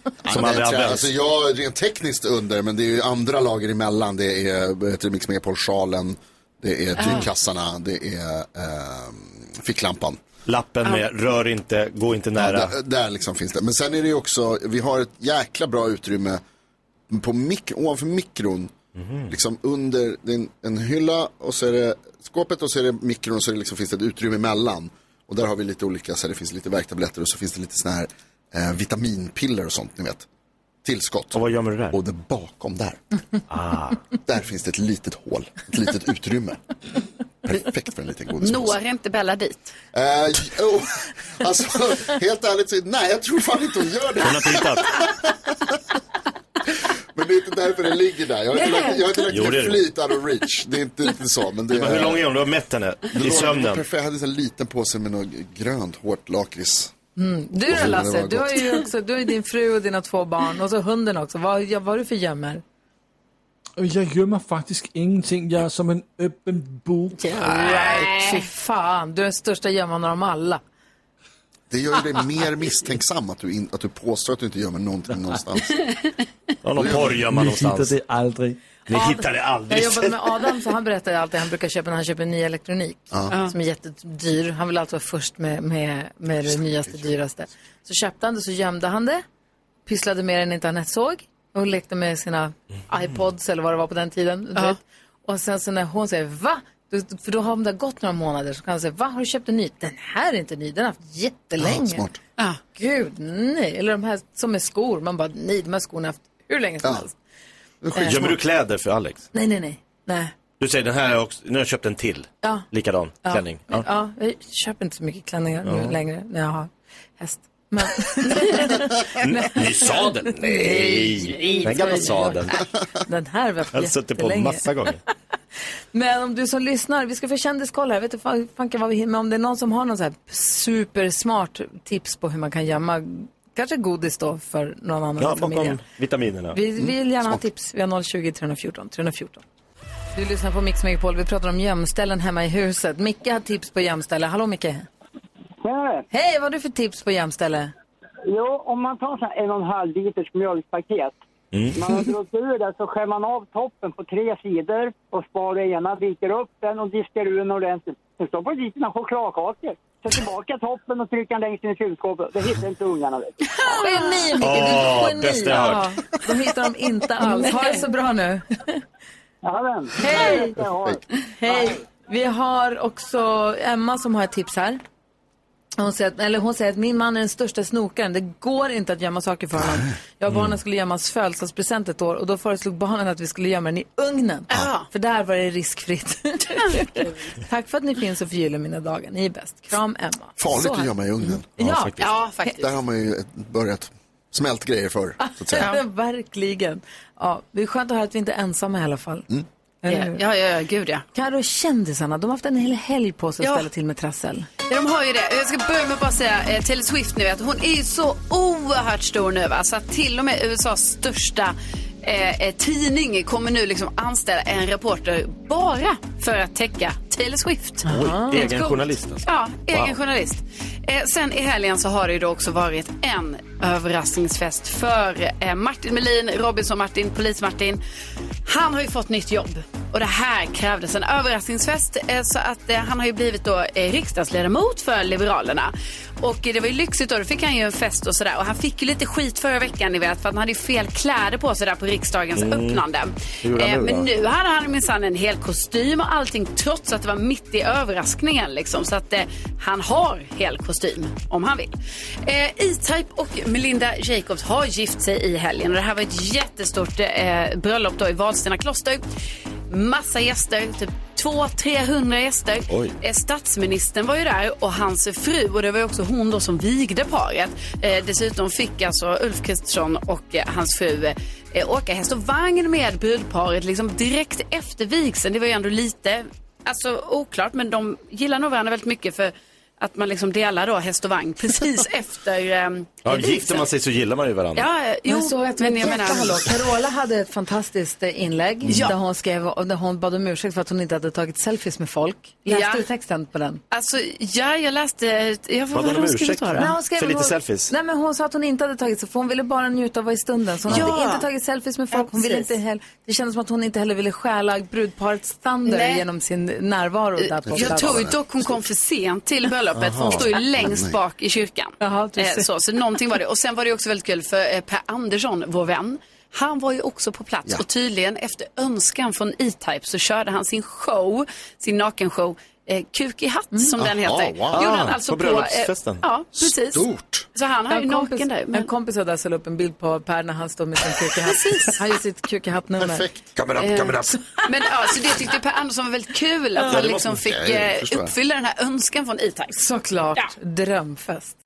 Speaker 3: Som
Speaker 2: Ja,
Speaker 3: aldrig
Speaker 2: det tror jag.
Speaker 3: används.
Speaker 2: Alltså jag är rent tekniskt under, men det är ju andra lager emellan. Det är vad heter det, Mix Megapol-sjalen, det är
Speaker 3: Ah.
Speaker 2: tygkassarna, det är ehm, ficklampan.
Speaker 3: Lappen med rör inte, gå inte nära.
Speaker 2: Ja, där, där liksom finns det. Men sen är det ju också, vi har ett jäkla bra utrymme på mik ovanför mikron.
Speaker 3: Mhm.
Speaker 2: Liksom under, det är en, en hylla och så är det skåpet och så är det mikron och så är det liksom, finns det ett utrymme emellan. Och där har vi lite olika, så här, det finns lite värktabletter och så finns det lite såna här eh, vitaminpiller och sånt, ni vet. Tillskott. Och
Speaker 3: vad gömmer du där?
Speaker 2: Och det bakom där.
Speaker 3: Ah.
Speaker 2: Där finns det ett litet hål, ett litet utrymme. Perfekt för en liten godispåse.
Speaker 4: Når inte Bella dit?
Speaker 2: Eh, jo, alltså, helt ärligt, så, nej jag tror fan inte hon gör det. Hon
Speaker 3: har tittat.
Speaker 2: Men det är inte därför den ligger där. Jag har inte
Speaker 3: Nej.
Speaker 2: lagt, jag har inte lagt
Speaker 3: Jo, det är
Speaker 2: ner
Speaker 3: det.
Speaker 2: flit out of reach. Det är inte, inte så. Men det
Speaker 3: Men hur lång är hon? Du har mätt henne
Speaker 2: Det var
Speaker 3: i sömnen.
Speaker 2: Perfekt. Jag hade en sån liten påse med något grönt hårt lakrits.
Speaker 1: Mm. Du
Speaker 2: Och
Speaker 1: då
Speaker 2: så det
Speaker 1: Lasse,
Speaker 2: var
Speaker 1: du har
Speaker 2: gott.
Speaker 1: ju också, du har ju din fru och dina två barn och så hunden också. Vad, ja, vad har du för gömmer?
Speaker 7: Jeg gjemmer faktisk ingenting. Jeg er som en åben bok.
Speaker 1: Nej, fy fan. Du är den största gömman av dem alla.
Speaker 2: Det gör ju dig mer misstänksam att du, in, att du påstår att du inte gömmer någonting någonstans.
Speaker 3: Ja, någon porrgömma
Speaker 7: Ni
Speaker 3: någonstans.
Speaker 7: hittar det aldrig.
Speaker 3: Ni hittar det
Speaker 1: Jag
Speaker 3: aldrig.
Speaker 1: jobbade med Adam så han berättade alltid han brukar köpa när han köper ny elektronik
Speaker 2: Ja.
Speaker 1: som är jättedyr. Han vill alltid vara först med, med, med det nyaste, dyraste. Så köpte han det, så gömde han det, pysslade med den inte han såg och lekte med sina iPods eller vad det var på den tiden. du
Speaker 4: Ja.
Speaker 1: vet. Och sen så när hon säger va? Då- För då har om det har gått några månader så kan han säga, va har du köpt en ny? Den här är inte ny, den har jag haft jättelänge.
Speaker 2: Ja, smart.
Speaker 1: Ah, Gud, nej. Eller de här som är skor, man bara, nej, de här skorna har jag haft hur länge som helst. Eh,
Speaker 3: Gömmer du kläder för Alex?
Speaker 1: Nej, nej, nej. nej.
Speaker 3: Du säger den här har jag också, nu har jag köpt en till.
Speaker 1: Ja.
Speaker 3: Likadan klänning.
Speaker 1: Ja.
Speaker 3: Ja.
Speaker 1: Ja, jag köper inte så mycket klänningar
Speaker 3: Ja.
Speaker 1: nu längre när jag har häst. Men...
Speaker 3: N- Ny sadel? Nej! Den gamla sadeln.
Speaker 1: Den här var
Speaker 3: Jag har suttit på
Speaker 1: jättelänge.
Speaker 3: massa gånger.
Speaker 1: Men om du som lyssnar, vi ska få kändiskoll här. Jag vet inte fan- fanken vad vi hinner med. Om det är någon som har någon så här supersmart tips på hur man kan gömma kanske godis då för någon annan
Speaker 3: Ja,
Speaker 1: i
Speaker 3: bakom
Speaker 1: familjen.
Speaker 3: vitaminerna.
Speaker 1: Vi vi vill gärna ha tips. Vi har 020 314 314. Du lyssnar på Mix Megapol. Vi pratar om gömställen hemma i huset. Micke har tips på gömställe. Hallå Micke!
Speaker 11: Tjenare!
Speaker 1: Hej, vad har du för tips på gömställe?
Speaker 11: Jo, om man tar så här en och en halv liters mjölkpaket. Man har dragit ur det så skär man av toppen på tre sidor och sparar ena, viker upp den och diskar ur den ordentligt. Sen stoppar du dit dina chokladkakor. Sätt tillbaka toppen och trycker den längst in i kylskåpet. Det hittar inte ungarna. vet du.
Speaker 1: Geni, Micke! Du
Speaker 11: Åh,
Speaker 1: är ett geni!
Speaker 11: bästa jag
Speaker 1: Ja,
Speaker 11: hört.
Speaker 1: de hittar de inte alls. Ha det så bra nu.
Speaker 11: Jajamän.
Speaker 1: Hej! Hej! Vi har också Emma som har ett tips här. Hon säger, att, eller hon säger att min man är den största snokaren. Det går inte att gömma saker för honom. Jag och barnen skulle gömma hans födelsedagspresent ett år och då föreslog barnen att vi skulle gömma den i ugnen. För där var det riskfritt. Tack för att ni finns och förgyller mina dagar. Ni är bäst. Kram Emma.
Speaker 2: Farligt
Speaker 1: Så
Speaker 2: att
Speaker 1: här.
Speaker 2: gömma i ugnen.
Speaker 1: Ja, Ja, faktiskt. ja, faktiskt.
Speaker 2: Där har man ju börjat smält grejer för så att säga.
Speaker 1: Verkligen. Ja, det är skönt att höra att vi inte är ensamma i alla fall. Mm.
Speaker 4: Ja, ja, ja, gud ja.
Speaker 1: Karo, kändisarna, de har haft en hel helg på sig att
Speaker 4: Ja.
Speaker 1: ställa till med trassel.
Speaker 4: Ja, de har ju det. Jag ska börja med att bara säga eh, Taylor Swift nu, att hon är ju så oerhört stor nu. va? Så att till och med USAs största eh, eh, tidning kommer nu liksom anställa en reporter bara för att täcka Taylor Swift.
Speaker 3: Oj,
Speaker 4: Helt
Speaker 3: egen
Speaker 4: coolt.
Speaker 3: journalist alltså.
Speaker 4: Ja, egen
Speaker 3: Wow.
Speaker 4: journalist. Eh, sen i helgen så har det ju då också varit en överraskningsfest för eh, Martin Melin, Robinson-Martin, Polis-Martin. Han har ju fått nytt jobb och det här krävdes en överraskningsfest eh, så att eh, han har ju blivit då eh, riksdagsledamot för Liberalerna. Och eh, det var ju lyxigt och då fick han ju en fest och sådär och han fick ju lite skit förra veckan ni vet för att han hade ju fel kläder på sig där på riksdagens
Speaker 12: Mm.
Speaker 4: öppnande.
Speaker 12: Hur gjorde han
Speaker 4: Eh,
Speaker 12: nu då?
Speaker 4: men nu hade han minsann en hel kostym och allting trots att det var mitt i överraskningen. Liksom. Så att eh, han har hel kostym om han vill. Eh, E-Type och Melinda Jacobs har gift sig i helgen och det här var ett jättestort eh, bröllop då i Vadstena kloster. Massa gäster, typ 200-300 gäster.
Speaker 12: Oj.
Speaker 4: Eh, Statsministern var ju där och hans fru och det var ju också hon då som vigde paret. Eh, dessutom fick alltså Ulf Kristersson och eh, hans fru eh, åka häst och vagn med brudparet liksom direkt efter vigseln. Det var ju ändå lite alltså, oklart men de gillar nog varandra väldigt mycket för att man liksom delar då häst och vagn precis efter eh,
Speaker 3: Ja,
Speaker 4: vigseln.
Speaker 3: gifter man sig så gillar man ju varandra.
Speaker 4: Ja, eh, jo,
Speaker 1: jag såg att
Speaker 4: men
Speaker 1: men
Speaker 4: jag menar-
Speaker 1: hallå, Carola hade ett fantastiskt eh, inlägg
Speaker 4: Ja.
Speaker 1: där, hon skrev, och där hon bad om ursäkt för att hon inte hade tagit selfies med folk. Läste
Speaker 4: Ja.
Speaker 1: du texten på den?
Speaker 4: Alltså, ja, jag läste... Jag,
Speaker 3: Bad hon om ursäkt?
Speaker 1: Nej, hon skrev
Speaker 3: För lite
Speaker 1: hon,
Speaker 3: selfies?
Speaker 1: Nej, men hon sa att hon inte hade tagit så för hon ville bara njuta av att vara i stunden. Så hon
Speaker 4: Ja.
Speaker 1: hade inte tagit selfies med folk. Hon
Speaker 4: Ja,
Speaker 1: ville
Speaker 4: precis.
Speaker 1: inte heller, det kändes som att hon inte heller ville stjäla brudparets standard
Speaker 4: Nej.
Speaker 1: genom sin närvaro där på
Speaker 4: Jag tror ju
Speaker 1: plats.
Speaker 4: dock hon kom för sent till bröllopet, för hon
Speaker 1: Jaha.
Speaker 4: stod ju
Speaker 1: Nej.
Speaker 4: längst bak i kyrkan.
Speaker 1: du
Speaker 4: Eh,
Speaker 1: ser.
Speaker 4: så, så någonting var det. Och sen var det ju också väldigt kul för eh, Per Andersson, vår vän, han var ju också på plats och tydligen efter önskan från E-Type så körde han sin show, sin nakenshow, eh, Kuk i hatt som den
Speaker 1: Aha,
Speaker 4: heter.
Speaker 1: wow.
Speaker 4: Gjorde han
Speaker 1: Ah,
Speaker 4: alltså
Speaker 1: på
Speaker 4: eh,
Speaker 1: bröllopsfesten.
Speaker 4: ja, precis.
Speaker 1: Stort.
Speaker 4: Så han har ju
Speaker 1: En kompis-
Speaker 4: naken där.
Speaker 1: En kompis hade alltså lagt upp en bild på Per när han står med sin kukihatt. han gör sitt kukihatt-nummer.
Speaker 2: Perfekt. Coming up,
Speaker 1: Eh,
Speaker 2: coming up.
Speaker 4: Men ja, så det tyckte Per Andersson var väldigt kul
Speaker 1: Ja,
Speaker 4: att han
Speaker 1: det
Speaker 4: liksom
Speaker 1: måste-
Speaker 4: fick
Speaker 1: Ja, det
Speaker 4: eh,
Speaker 1: förstår jag.
Speaker 4: uppfylla den här önskan från E-Type.
Speaker 1: Såklart. Drömfest.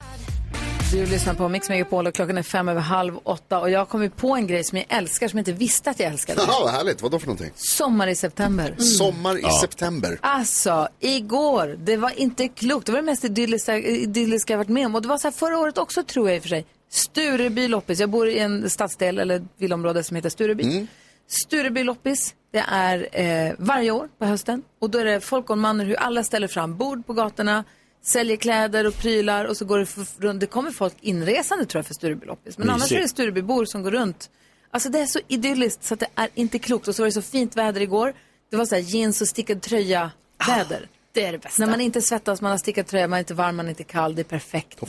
Speaker 1: Du lyssnar på Mix Megapol och klockan är fem över halv åtta och jag har kommit på en grej som jag älskar som jag inte visste att jag älskade.
Speaker 2: Ja, vad härligt. Vad då för någonting?
Speaker 1: Sommar i september.
Speaker 2: Sommar i september.
Speaker 1: Alltså, igår, det var inte klokt. Det var det mest idylliska, idylliska jag varit med om. Och det var så här förra året också tror jag i och för sig. Stureby loppis. Jag bor i en stadsdel eller ett villaområde som heter Stureby. Stureby loppis, det är eh, varje år på hösten. Och då är det folk och manner hur alla ställer fram bord på gatorna, säljer kläder och prylar och så går det f- runt. Det kommer folk inresande tror jag för Stureby loppis. Men annars
Speaker 12: Mysigt.
Speaker 1: är det Sturebybor som går runt. Alltså det är så idylliskt så att det är inte klokt. Och så var det så fint väder igår. Det var så här jeans och stickad tröja
Speaker 3: Ah,
Speaker 1: väder.
Speaker 4: Det är det bästa.
Speaker 1: När man inte svettas, man har stickat tröja, man är inte varm, man är inte kall, det är perfekt.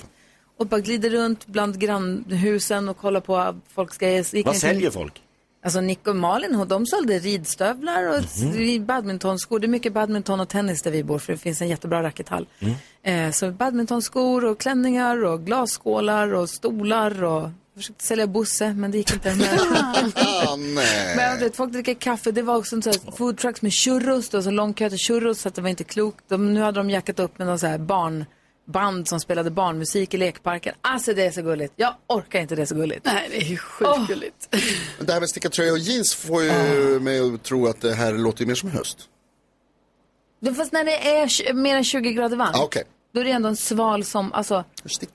Speaker 1: Och bara glider runt bland grannhusen och kollar på folks grejer. Så gick
Speaker 3: Vad
Speaker 1: jag-
Speaker 3: säljer folk?
Speaker 1: Alltså Nick och Malin, hon- de sålde ridstövlar och mm. badmintonskor. Det är mycket badminton och tennis där vi bor för det finns en jättebra rackethall. Eh, så badmintonskor och klänningar och glasskålar och stolar och jag försökte sälja Bosse men det gick inte. Men,
Speaker 2: Ah,
Speaker 1: men du vet, folk dricker kaffe. Det var också en sån här food trucks med churros. Det var så lång kö till churros så att det var inte klokt. De, nu hade de jackat upp med någon så här barnband som spelade barnmusik i lekparken. Alltså det är så gulligt. Jag orkar inte det är så gulligt.
Speaker 4: Nej, det är ju sjukt gulligt.
Speaker 2: Men Det här med stickartröja och jeans får ju
Speaker 3: Ah.
Speaker 2: mig att tro att det här låter ju mer som höst.
Speaker 1: Men Fast när det är tj- mer än 20 grader varmt.
Speaker 2: Ah, okej.
Speaker 1: Då är det ändå en sval som, alltså.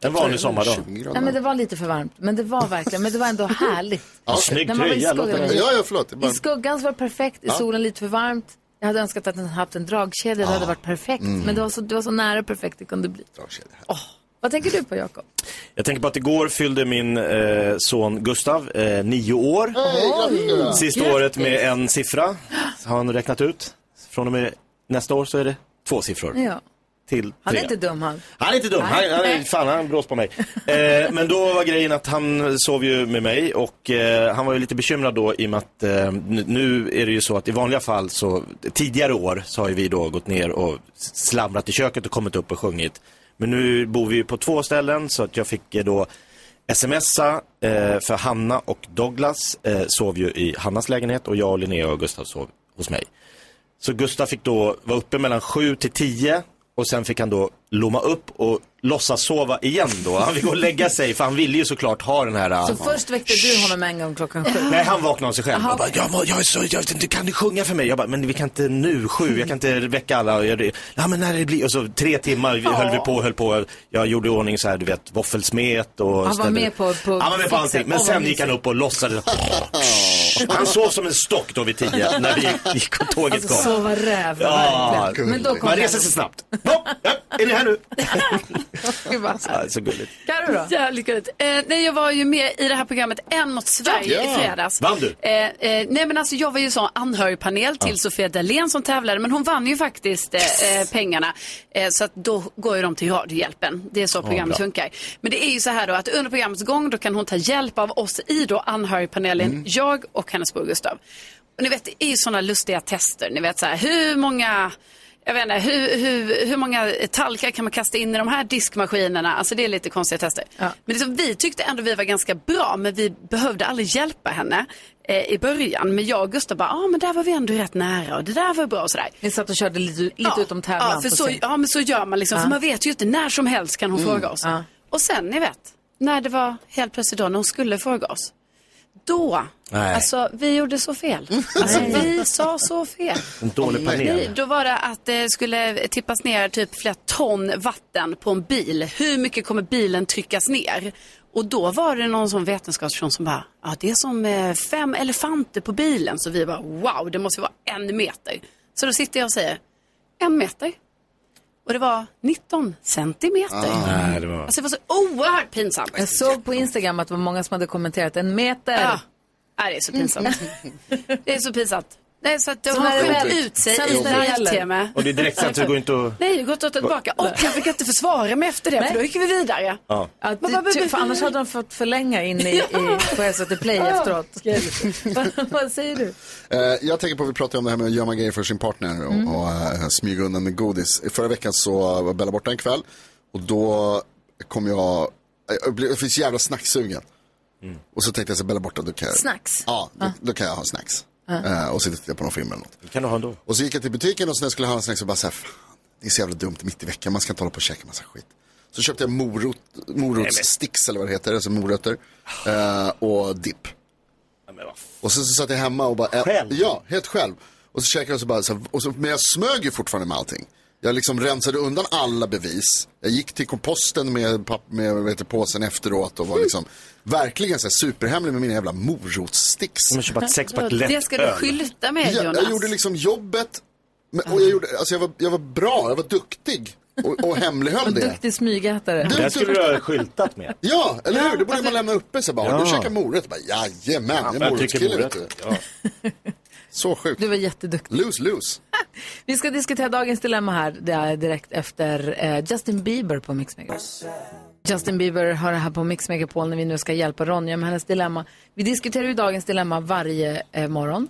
Speaker 3: En vanlig sommardag.
Speaker 1: Nej men det var lite för varmt. Men det var verkligen, men det var ändå härligt.
Speaker 2: Ja,
Speaker 3: okej. Snygg
Speaker 1: När man var i
Speaker 3: tröja, låter
Speaker 1: skuggan.
Speaker 3: det.
Speaker 2: Ja, ja, förlåt. det är
Speaker 1: I
Speaker 2: Bara...
Speaker 1: skuggan så var det perfekt, i
Speaker 2: Ja.
Speaker 1: solen lite för varmt. Jag hade önskat att den hade haft en dragkedja, det hade varit perfekt.
Speaker 3: Mm.
Speaker 1: Men det var, så, det var så nära perfekt det kunde bli. Åh, Vad tänker du på Jakob?
Speaker 3: Jag tänker på att igår fyllde min eh, son Gustav eh, nio år.
Speaker 1: grattis!
Speaker 3: Sista året med en siffra har han räknat ut. Från och med nästa år så är det två siffror.
Speaker 1: Ja.
Speaker 3: Till tre.
Speaker 1: Mm. Han är inte dum han.
Speaker 3: Han är inte dum. Han, han, är- fan, han blåser på mig. Eh, men då var grejen att han sov ju med mig och eh, han var ju lite bekymrad då i och med att eh, nu- nu är det ju så att i vanliga fall så tidigare år så har ju vi då gått ner och slamrat i köket och kommit upp och sjungit. Men nu bor vi ju på två ställen så att jag fick eh, då smsa eh, för Hanna och Douglas eh, sov ju i Hannas lägenhet och jag, Linnea och Gustav sov hos mig. Så Gustav fick då vara uppe mellan 7 till 10 och sen fick han då lomma upp och låtsas sova igen då. Han fick gå och lägga sig för han ville ju såklart ha den här... eh,
Speaker 1: Så först väckte du honom en gång klockan sju.
Speaker 3: Nej, han vaknade av sig själv.
Speaker 1: Aha.
Speaker 3: Jag bara, jag, må, jag, är så, jag vet inte, kan du sjunga för mig? Jag bara, men vi kan inte nu, sju, jag kan inte väcka alla. Och Jag, ja, men när det blir, och så tre timmar vi höll vi på, höll på. Jag gjorde i ordning så här, du vet, våffelsmet och...
Speaker 1: Han var
Speaker 3: ställde-
Speaker 1: med på, på
Speaker 3: Han var med på allting, men sen gick han upp och låtsades. Han sov som en stock då vid tio, när vi gick och tåget
Speaker 1: Alltså
Speaker 3: kom.
Speaker 1: sova räv,
Speaker 3: Ja,
Speaker 1: verkligen. Men då kom
Speaker 3: man reser sig snabbt. Hopp, ja, är ni här nu? Ja, så gulligt.
Speaker 1: Carro då?
Speaker 4: Jävligt gulligt. Eh, nej, jag var ju med i det här programmet En mot Sverige
Speaker 3: Ja.
Speaker 4: i fredags.
Speaker 3: Vann du?
Speaker 4: Eh, eh, nej, men alltså jag var ju sån anhörigpanel till
Speaker 3: Ja.
Speaker 4: Sofia Dalén som tävlade, men hon vann ju faktiskt eh, eh, pengarna. Eh, så att då går ju de till Radiohjälpen. Det är så
Speaker 12: Ja,
Speaker 4: programmet
Speaker 12: bra.
Speaker 4: funkar. Men det är ju så här då att under programmets gång då kan hon ta hjälp av oss i då anhörigpanelen,
Speaker 3: Mm.
Speaker 4: jag och hennes bror Gustav. Och ni vet, det är ju sådana lustiga tester. Ni vet så här, hur många jag vet inte, hur, hur, hur många talkar kan man kasta in i de här diskmaskinerna? Alltså det är lite konstiga tester. Men liksom, vi tyckte ändå vi var ganska bra, men vi behövde aldrig hjälpa henne eh, i början. Men jag och Gustav bara, ah, men där var vi ändå rätt nära och det där var bra och sådär.
Speaker 1: Ni satt och körde lite, lite utom tävlan.
Speaker 4: Ja, för
Speaker 1: så
Speaker 4: så,
Speaker 1: att säga.
Speaker 4: ja, men så gör man liksom,
Speaker 1: Ja.
Speaker 4: för man vet ju inte, när som helst kan hon
Speaker 1: Mm,
Speaker 4: fråga oss.
Speaker 1: ja.
Speaker 4: Och sen, ni vet, när det var helt plötsligt då, när hon skulle fråga oss. Då,
Speaker 3: Nej.
Speaker 4: alltså vi gjorde så fel. Alltså vi sa så fel.
Speaker 3: En dålig
Speaker 4: Nej,
Speaker 3: panel.
Speaker 4: då var det att det skulle tippas ner typ flera ton vatten på en bil. Hur mycket kommer bilen tryckas ner? Och då var det någon sån vetenskapsperson som bara, ja det är som eh, fem elefanter på bilen. Så vi bara, wow, det måste vara en meter. Så då sitter jag och säger, en meter. Och det var 19 centimeter.
Speaker 3: Nej, det var...
Speaker 4: Alltså det var så oerhört pinsamt.
Speaker 1: Jag såg på Instagram att det var många som hade kommenterat en meter.
Speaker 4: Ja. Nej, det är så pinsamt. det är så pinsamt. Nej, så att de
Speaker 1: Så
Speaker 4: har
Speaker 1: när det
Speaker 4: skämt
Speaker 1: väl-
Speaker 4: ut sig
Speaker 1: sen
Speaker 4: i
Speaker 1: när det gäller.
Speaker 4: live-tv.
Speaker 3: Och det är direkt sen så det går inte att...
Speaker 4: Nej, det går inte att ta tillbaka. Och jag fick inte försvara mig efter det, för då gick vi vidare.
Speaker 3: Ja.
Speaker 1: Att det, ty, för annars hade de fått förlänga in i, i, på SVT Play
Speaker 4: Ja.
Speaker 1: efteråt. vad, vad säger du?
Speaker 2: Eh, jag tänker på, vi pratade om det här med att gömma grejer för sin partner och,
Speaker 1: Mm.
Speaker 2: och eh, smyga undan med godis. Förra veckan så var Bella borta en kväll och då kom jag, eh, jag blev jag fick så jävla snacksugen.
Speaker 3: Mm.
Speaker 2: Och så tänkte jag så här, Bella borta, då kan jag...
Speaker 1: Snacks?
Speaker 2: Ja, då, då kan jag ha snacks.
Speaker 1: Ja.
Speaker 2: Eh, och så tittade jag på någon film eller något.
Speaker 3: kan du ha ändå.
Speaker 2: Och så gick jag till butiken och så när jag skulle handla snacks så bara så här, fan, det är så jävla dumt mitt i veckan, man ska inte hålla på och käka massa skit. Så köpte jag morot, morotssticks eller vad det heter, alltså morötter. Eh, och dipp. Och sen så satt jag hemma och bara... ä- Ja, helt själv. Och så käkade jag och så bara, så här, och så, men jag smög ju fortfarande med allting. Jag liksom rensade undan alla bevis. Jag gick till komposten med, papp, med vad heter, påsen efteråt och var liksom verkligen så här superhemlig med mina jävla morotssticks.
Speaker 3: Men köpa ett sexpack
Speaker 4: Det ska du skylta med,
Speaker 2: Ja,
Speaker 4: Jonas.
Speaker 2: jag gjorde liksom jobbet. Men, och jag, gjorde, alltså jag, var, jag var bra, jag var duktig. Och, och hemlighöll
Speaker 1: Vad
Speaker 2: det.
Speaker 1: duktig smygätare.
Speaker 2: Det här skulle du ha
Speaker 3: skyltat med.
Speaker 2: Ja, eller hur? Det borde
Speaker 1: alltså-
Speaker 2: man lämna uppe. Så bara,
Speaker 3: Ja.
Speaker 2: Du käkar morot? Bara, Jajamän, jag är
Speaker 3: jag
Speaker 2: morotskille.
Speaker 3: tycker
Speaker 2: vet
Speaker 3: morot.
Speaker 2: du." Så sjukt.
Speaker 1: Du var jätteduktig.
Speaker 2: Lose, lose.
Speaker 1: Vi ska diskutera dagens dilemma här det är direkt efter eh, Justin Bieber på Mix Megapol. Justin Bieber har det här på Mix Megapol när vi nu ska hjälpa Ronja med hennes dilemma. Vi diskuterar ju dagens dilemma varje eh, morgon.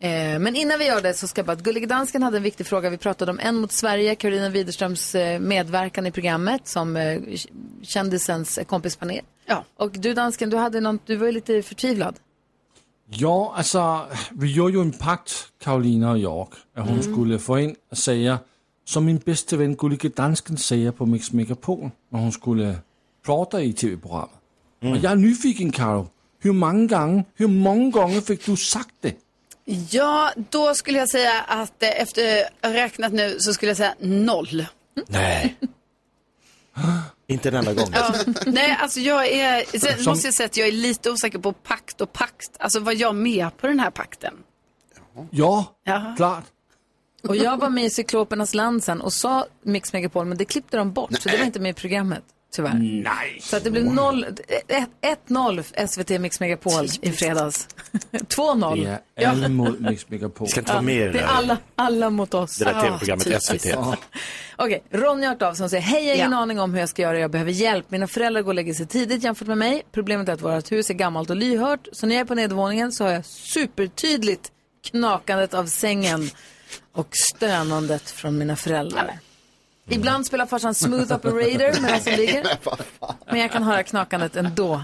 Speaker 1: Eh, men innan vi gör det så ska jag bara att Gullige Dansken hade en viktig fråga. Vi pratade om En mot Sverige, Karolina Widerströms eh, medverkan i programmet som eh, k- kändisens eh, kompispanel. Ja. Och du Dansken, du, hade någon, du var ju lite förtvivlad.
Speaker 7: Ja, alltså, vi gjorde ju en pakt, Karolina och jag, att hon
Speaker 1: Mm.
Speaker 7: skulle få in och säga, som min bästa vän Gullige Dansken säger på Mix Megapol, när hon skulle prata i tv-programmet. Och jag är nyfiken, Karo. Hur många gånger, hur många gånger fick du sagt det?
Speaker 4: Ja, då skulle jag säga att eh, efter eh, räknat nu så skulle jag säga noll.
Speaker 3: Nej. Inte en enda gång.
Speaker 4: Ja, nej, alltså jag är, sen
Speaker 3: Som-
Speaker 4: måste jag säga att jag är lite osäker på pakt och pakt. Alltså var jag med på den här pakten?
Speaker 7: Ja,
Speaker 4: Jaha.
Speaker 7: klart.
Speaker 1: Och jag var med i Cyklopernas land sen och sa Mix Megapol, men det klippte de bort, så det var inte med i programmet. Tyvärr.
Speaker 7: Nej.
Speaker 1: Så att det blev 0 ett- 1-0 SVT Mix Megapol i fredags. 2-0.
Speaker 7: Det är alla mot Mix Megapol.
Speaker 3: Ska inte vara med i det
Speaker 1: det är
Speaker 3: där.
Speaker 1: alla, alla mot oss.
Speaker 3: Det där
Speaker 1: Ah,
Speaker 3: tv-programmet
Speaker 1: typiskt.
Speaker 3: SVT.
Speaker 1: Okej, Ronja har hört av sig och säger Hej, jag har ingen aning om hur jag ska göra, jag behöver hjälp. Mina föräldrar går och lägger sig tidigt jämfört med mig. Problemet är att vårt hus är gammalt och lyhört, så när jag är på nedervåningen så har jag supertydligt knakandet av sängen och stönandet från mina föräldrar. Ibland spelar farsan Smooth Operator medan jag ligger, men jag kan höra knakandet ändå.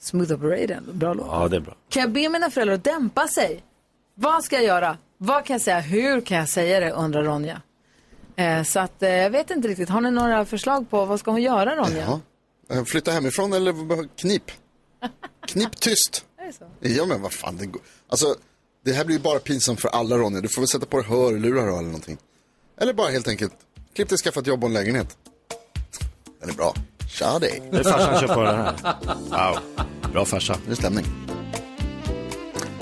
Speaker 1: Smooth Operator, bra låt.
Speaker 3: Ja, det är bra.
Speaker 1: Kan jag be mina föräldrar att dämpa sig? Vad ska jag göra? Vad kan jag säga? Hur kan jag säga det? undrar Ronja. Eh, så att eh, jag vet inte riktigt. Har ni några förslag på vad ska hon göra Ronja?
Speaker 2: Ja. Eh, Flytta hemifrån eller b- knip. Knip tyst.
Speaker 1: Är det så?
Speaker 2: Ja men vad fan, det går. Alltså, det här blir ju bara pinsamt för alla Ronja. Du får väl sätta på dig hörlurar då, eller någonting. Eller bara helt enkelt, klipp dig, skaffa ett jobb och en lägenhet. Den är bra. Tja dig.
Speaker 3: Nu farsan kör på den här. Wow. Bra farsa.
Speaker 2: Det är stämning.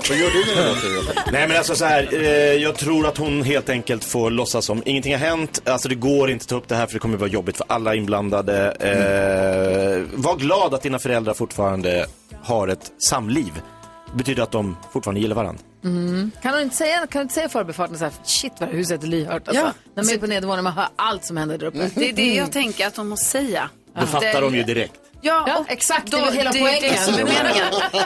Speaker 2: Vad gör du när du låter
Speaker 3: Nej men alltså så här, eh, jag tror att hon helt enkelt får låtsas som ingenting har hänt. Alltså det går inte att ta upp det här för det kommer vara jobbigt för alla inblandade. Eh, var glad att dina föräldrar fortfarande har ett samliv. Det betyder att de fortfarande gillar varandra.
Speaker 1: Mm. Kan hon inte säga, kan hon inte säga i förbifarten så här, shit vad huset är lyhört alltså.
Speaker 4: Ja. Mm.
Speaker 1: När man är på nedervåningen man hör allt som händer där uppe.
Speaker 4: Det är det jag tänker att de måste säga.
Speaker 3: Då fattar de ju direkt.
Speaker 4: Ja,
Speaker 1: Ja,
Speaker 4: och
Speaker 1: exakt.
Speaker 4: Då,
Speaker 1: Det är väl hela
Speaker 4: det,
Speaker 1: poängen.
Speaker 4: Det är som är meningen.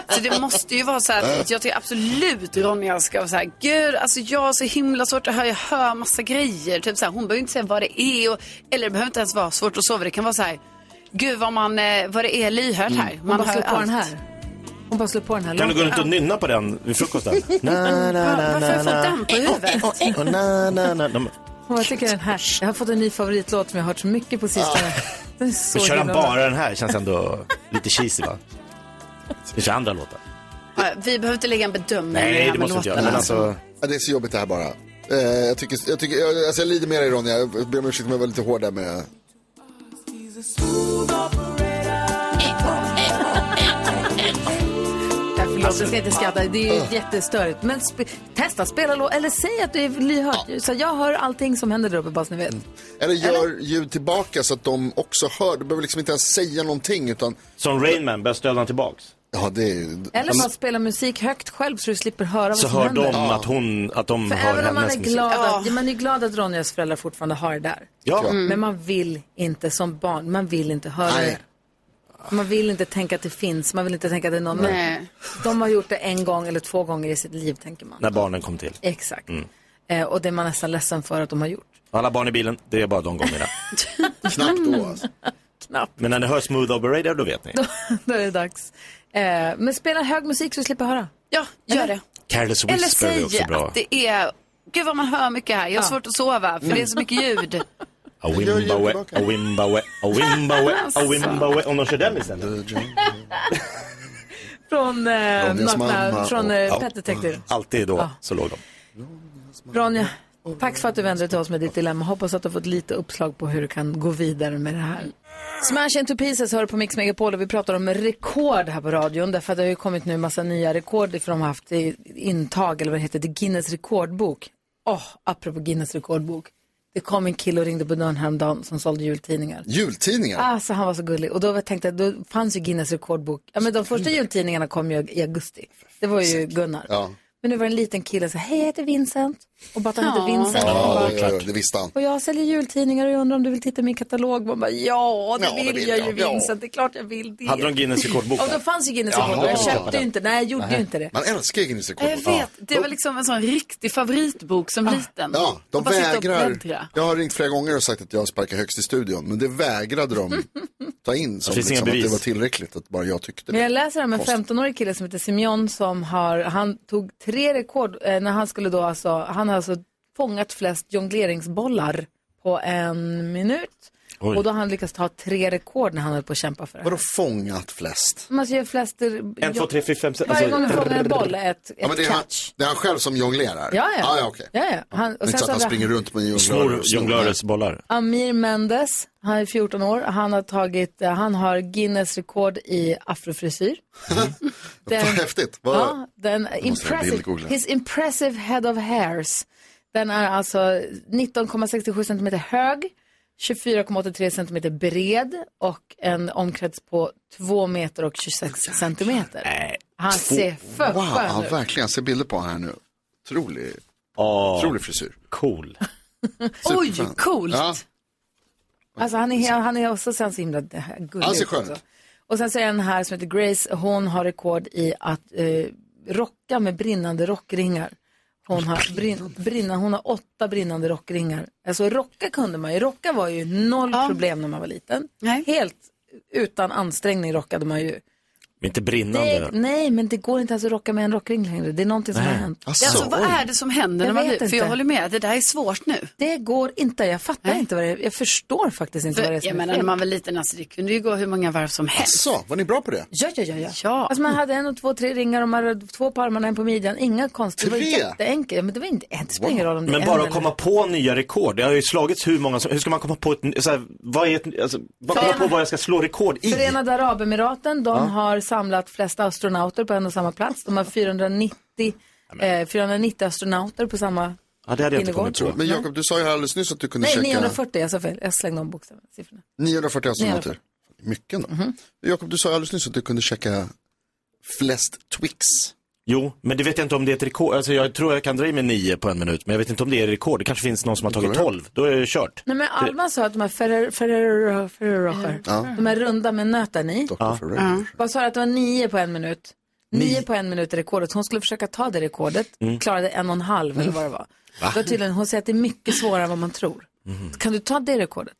Speaker 4: Så det måste ju vara så här att jag tycker absolut Ronja ska vara så här, gud, alltså jag har så himla svårt att höra, jag hör massa grejer. Typ så här, hon behöver inte säga vad det är, och, eller det behöver inte ens vara svårt att sova. Det kan vara så här, gud vad, man, eh, vad det är lyhört här.
Speaker 1: Mm. Hon
Speaker 4: Man
Speaker 1: bara
Speaker 4: hör
Speaker 1: slår på
Speaker 4: allt.
Speaker 1: den här. Hon bara slår på den här
Speaker 3: Kan du gå
Speaker 1: låten.
Speaker 3: runt och nynna på den vid frukosten?
Speaker 1: Varför har jag fått den på huvudet?
Speaker 3: Och na, na, na. De-
Speaker 1: Och jag, tycker den här, jag har fått en ny favoritlåt som jag har hört så mycket på sistone. Den är så
Speaker 3: Så kör han
Speaker 1: himla bra.
Speaker 3: bara den här, känns ändå lite cheesy va? Vi kör andra låtar.
Speaker 4: Ja, Vi behöver inte lägga en bedömning i den här med låten.
Speaker 3: alltså,
Speaker 2: Ja, det är så jobbigt det här bara. Eh, jag, tycker, jag, tycker, jag, alltså jag lider med dig Ronja, jag ber om ursäkt om jag var lite hård där med...
Speaker 1: Ja, Eh, förlåt, jag ska inte
Speaker 3: Alltså,
Speaker 1: skratta. Det är ju
Speaker 3: ah.
Speaker 1: jättestörigt. Men sp- testa, spela låt. Eller säg att du är
Speaker 3: Ah.
Speaker 1: lyhörd. Så jag hör allting som händer där uppe, bara så ni vet.
Speaker 3: Mm.
Speaker 2: Eller gör ljud tillbaka så att de också hör. Du behöver liksom inte ens säga någonting utan...
Speaker 3: Som Rainman, börja stöda tillbaks.
Speaker 2: Ja, det är ju...
Speaker 1: Eller bara spela musik högt själv så du slipper höra vad
Speaker 3: Mm. Så
Speaker 1: som
Speaker 3: hör
Speaker 1: händer.
Speaker 3: de att, hon, att de
Speaker 1: För
Speaker 3: hör
Speaker 1: även om man
Speaker 3: hennes
Speaker 1: är
Speaker 3: musik.
Speaker 1: glad, att, ja, man är glad att Ronjas föräldrar fortfarande har det där.
Speaker 3: Ja. Mm.
Speaker 1: Men man vill inte som barn, man vill inte höra
Speaker 3: Nej.
Speaker 1: det. Man vill inte tänka att det finns, man vill inte tänka att det är någon. men
Speaker 4: Nej.
Speaker 1: De har gjort det en gång eller två gånger i sitt liv, tänker man.
Speaker 3: När barnen kom till.
Speaker 1: Exakt.
Speaker 3: Mm.
Speaker 1: Eh, och det är man nästan ledsen för att de har gjort.
Speaker 3: Alla barn i bilen, det är bara de gångerna.
Speaker 2: Knappt då alltså.
Speaker 3: Men när ni hör Smooth Operator, då vet ni.
Speaker 1: Då, då är det dags. Eh, men spela hög musik så du slipper höra.
Speaker 4: Ja, gör det.
Speaker 3: Careless
Speaker 4: Eller
Speaker 3: Whisper är
Speaker 4: säg
Speaker 3: också bra.
Speaker 4: att det är, gud vad man hör mycket här, jag har
Speaker 1: Ja.
Speaker 4: svårt att sova för det är så mycket ljud.
Speaker 3: A wimbawe, a wimbawe, a wimbawe, a wimbawe. Om de kör den istället.
Speaker 1: Från, eh,
Speaker 3: Ronjas
Speaker 1: nakna,
Speaker 3: mamma
Speaker 1: från
Speaker 3: och-
Speaker 1: eh,
Speaker 3: ja. Mm.
Speaker 1: Pet Detective.
Speaker 3: Alltid då, så låg de.
Speaker 1: Ronja, tack för att du vände dig till oss med ditt dilemma. Hoppas att du har fått lite uppslag på hur du kan gå vidare med det här. Smash into pieces hör på Mix Megapol och vi pratar om rekord här på radion. Därför att det har ju kommit nu massa nya rekord för de har haft i- intag, eller vad det heter, till Guinness rekordbok. Åh, apropå Guinness rekordbok. Det kom en kille och ringde på dörren häromdagen som sålde jultidningar.
Speaker 2: Jultidningar?
Speaker 1: Alltså han var så gullig. Och då var jag tänkte, då fanns ju Guinness rekordbok. Ja men de första jultidningarna kom ju i augusti. Det var ju Gunnar.
Speaker 2: Mm. Ja.
Speaker 1: Men nu var det en liten kille som sa, hej jag heter Vincent. Och bara att han heter Vincent. Och
Speaker 2: Ja,
Speaker 1: bara,
Speaker 2: det, det, det visste han.
Speaker 1: och jag säljer jultidningar och jag undrar om du vill titta i min katalog? Man bara, ja, det
Speaker 2: Ja, det
Speaker 1: vill
Speaker 2: vill
Speaker 1: jag
Speaker 2: jag.
Speaker 1: ju
Speaker 2: Ja.
Speaker 1: Vincent, det är klart jag vill det.
Speaker 3: Hade de Guinness rekordbok?
Speaker 1: Ja, då fanns ju Guinness rekordbok. Jag
Speaker 2: Jaha.
Speaker 1: köpte ju inte, nej jag gjorde ju inte det.
Speaker 2: Man älskar ju Guinness
Speaker 4: Jag
Speaker 2: rekordbok.
Speaker 4: vet, det var liksom en sån riktig favoritbok som liten.
Speaker 2: Ja, de
Speaker 4: Och bara sitta och
Speaker 2: vägrar.
Speaker 4: bläddra.
Speaker 2: Jag har ringt flera gånger och sagt att jag sparkar högst i studion, men det vägrade de ta in som
Speaker 3: Det finns inga
Speaker 2: liksom, att det
Speaker 3: bevis.
Speaker 2: var tillräckligt, att bara jag tyckte
Speaker 1: Men
Speaker 2: det.
Speaker 1: jag läser om en
Speaker 2: Kost.
Speaker 1: 15-årig kille som heter Simeon som har, han tog tre rekord eh, när han skulle då alltså, han har alltså fångat flest jongleringsbollar på en minut.
Speaker 2: Oj.
Speaker 1: Och då har han lyckats ta tre rekord när han höll på att kämpa för det.
Speaker 2: Vadå fångat flest?
Speaker 1: Man gör flest...
Speaker 2: En, två, tre, fyra, fem, sex.
Speaker 1: Varje
Speaker 2: Alltså-
Speaker 1: gång du fångar en boll är ett, ett
Speaker 2: Ja, men det, är han, det är han själv som jonglerar?
Speaker 1: Ja, ja.
Speaker 2: Ah, ja, okej.
Speaker 1: Ja, ja. Han,
Speaker 2: Det är
Speaker 1: och sen
Speaker 2: inte så
Speaker 1: så
Speaker 2: att han
Speaker 1: har
Speaker 2: springer
Speaker 1: vi
Speaker 2: runt med
Speaker 3: Snor
Speaker 2: jonglörer och
Speaker 3: jonglörers bollar.
Speaker 1: Amir Mendes, han är 14 år. Han har tagit, eh, han har Guinness rekord i afrofrisyr. Den-
Speaker 2: Häftigt. Vad-
Speaker 1: Ja, den impressive,
Speaker 2: bildgoogla.
Speaker 1: his impressive head of hairs. Den är alltså 19,67 centimeter hög, 24,83 centimeter bred och en omkrets på 2 meter och 26 centimeter. Han
Speaker 2: Äh, Två-
Speaker 1: ser för
Speaker 2: Wow, ja,
Speaker 1: skön ut.
Speaker 2: verkligen. Jag ser bilder på honom här nu. Otrolig, otrolig frisyr.
Speaker 3: Ah. Cool.
Speaker 1: Oj,
Speaker 2: Superfan.
Speaker 1: coolt!
Speaker 2: Ja.
Speaker 1: Alltså han är, han är också sen så himla gullig.
Speaker 2: Han ser
Speaker 1: ut
Speaker 2: skön
Speaker 1: också.
Speaker 2: ut.
Speaker 1: Och sen så är en här som heter Grace, hon har rekord i att eh, rocka med brinnande rockringar. Hon har, brin, brinna, hon har åtta brinnande rockringar. Alltså rocka kunde man ju, rocka var ju noll problem när man var liten. Helt utan ansträngning rockade man ju.
Speaker 3: Men inte brinnande.
Speaker 1: Det, nej, men det går inte ens att rocka med en rockring längre. Det är någonting som
Speaker 3: Nej.
Speaker 1: har hänt.
Speaker 3: Alltså,
Speaker 4: Alltså, vad är det som händer när
Speaker 1: Jag
Speaker 4: man
Speaker 1: vet
Speaker 4: blir, för
Speaker 1: inte.
Speaker 4: jag håller med, det där är svårt nu.
Speaker 1: Det går inte, jag fattar inte vad det är. Jag förstår faktiskt inte
Speaker 4: För,
Speaker 1: vad det är som
Speaker 4: jag
Speaker 1: är
Speaker 4: menar,
Speaker 1: fel.
Speaker 4: när man var liten, alltså, det kunde ju gå hur många varv som helst.
Speaker 2: Så, var ni bra på det?
Speaker 1: Ja, ja, ja. ja. Alltså man hade en och två, tre ringar och man hade två på armarna, en på midjan. Inga konstigt. Det var
Speaker 2: Tre?
Speaker 1: jätteenkelt. Ja, Men det var inte, det spelar ingen roll om det
Speaker 3: Men
Speaker 1: är
Speaker 3: bara
Speaker 1: en
Speaker 3: att komma
Speaker 1: Mm.
Speaker 3: på nya rekord. Det har ju slagits hur många som, hur ska man komma på ett, ny- så här, vad är ett, alltså, vad, komma på vad jag ska slå rekord i?
Speaker 1: eller- Förenade Arabemiraten, de
Speaker 3: Ja.
Speaker 1: har samlat flest astronauter på en och samma plats. De har 490, eh, 490 astronauter på samma innergård.
Speaker 2: Men Jakob, du sa ju här alldeles nyss att du kunde
Speaker 1: Nej,
Speaker 2: checka...
Speaker 1: 940, jag sa fel. Jag slängde om bokstäverna, siffrorna.
Speaker 2: 940 astronauter. Mycket ändå. Jakob, du sa ju alldeles nyss att du kunde checka flest Twix.
Speaker 3: Jo, men det vet jag inte om det är ett rekord. Alltså, jag tror jag kan dra i mig nio på en minut, men jag vet inte om det är rekord. Det kanske finns någon som har tagit tolv. Då är det kört.
Speaker 1: Nej, men
Speaker 3: Det-
Speaker 1: Alma sa att de här Ferrero- Ferrero Ferrero Rocher,
Speaker 3: Ja.
Speaker 1: de är runda med nöten i.
Speaker 3: Ja.
Speaker 1: Ja. Vad sa du att det var nio på en minut? Nio, på en minut är rekordet. Hon skulle försöka ta det rekordet,
Speaker 12: Mm.
Speaker 1: klarade en och en halv eller vad det var.
Speaker 3: Va? Mm.
Speaker 1: Då tydligen, hon säger att det är mycket svårare än vad man tror. Kan du ta det rekordet?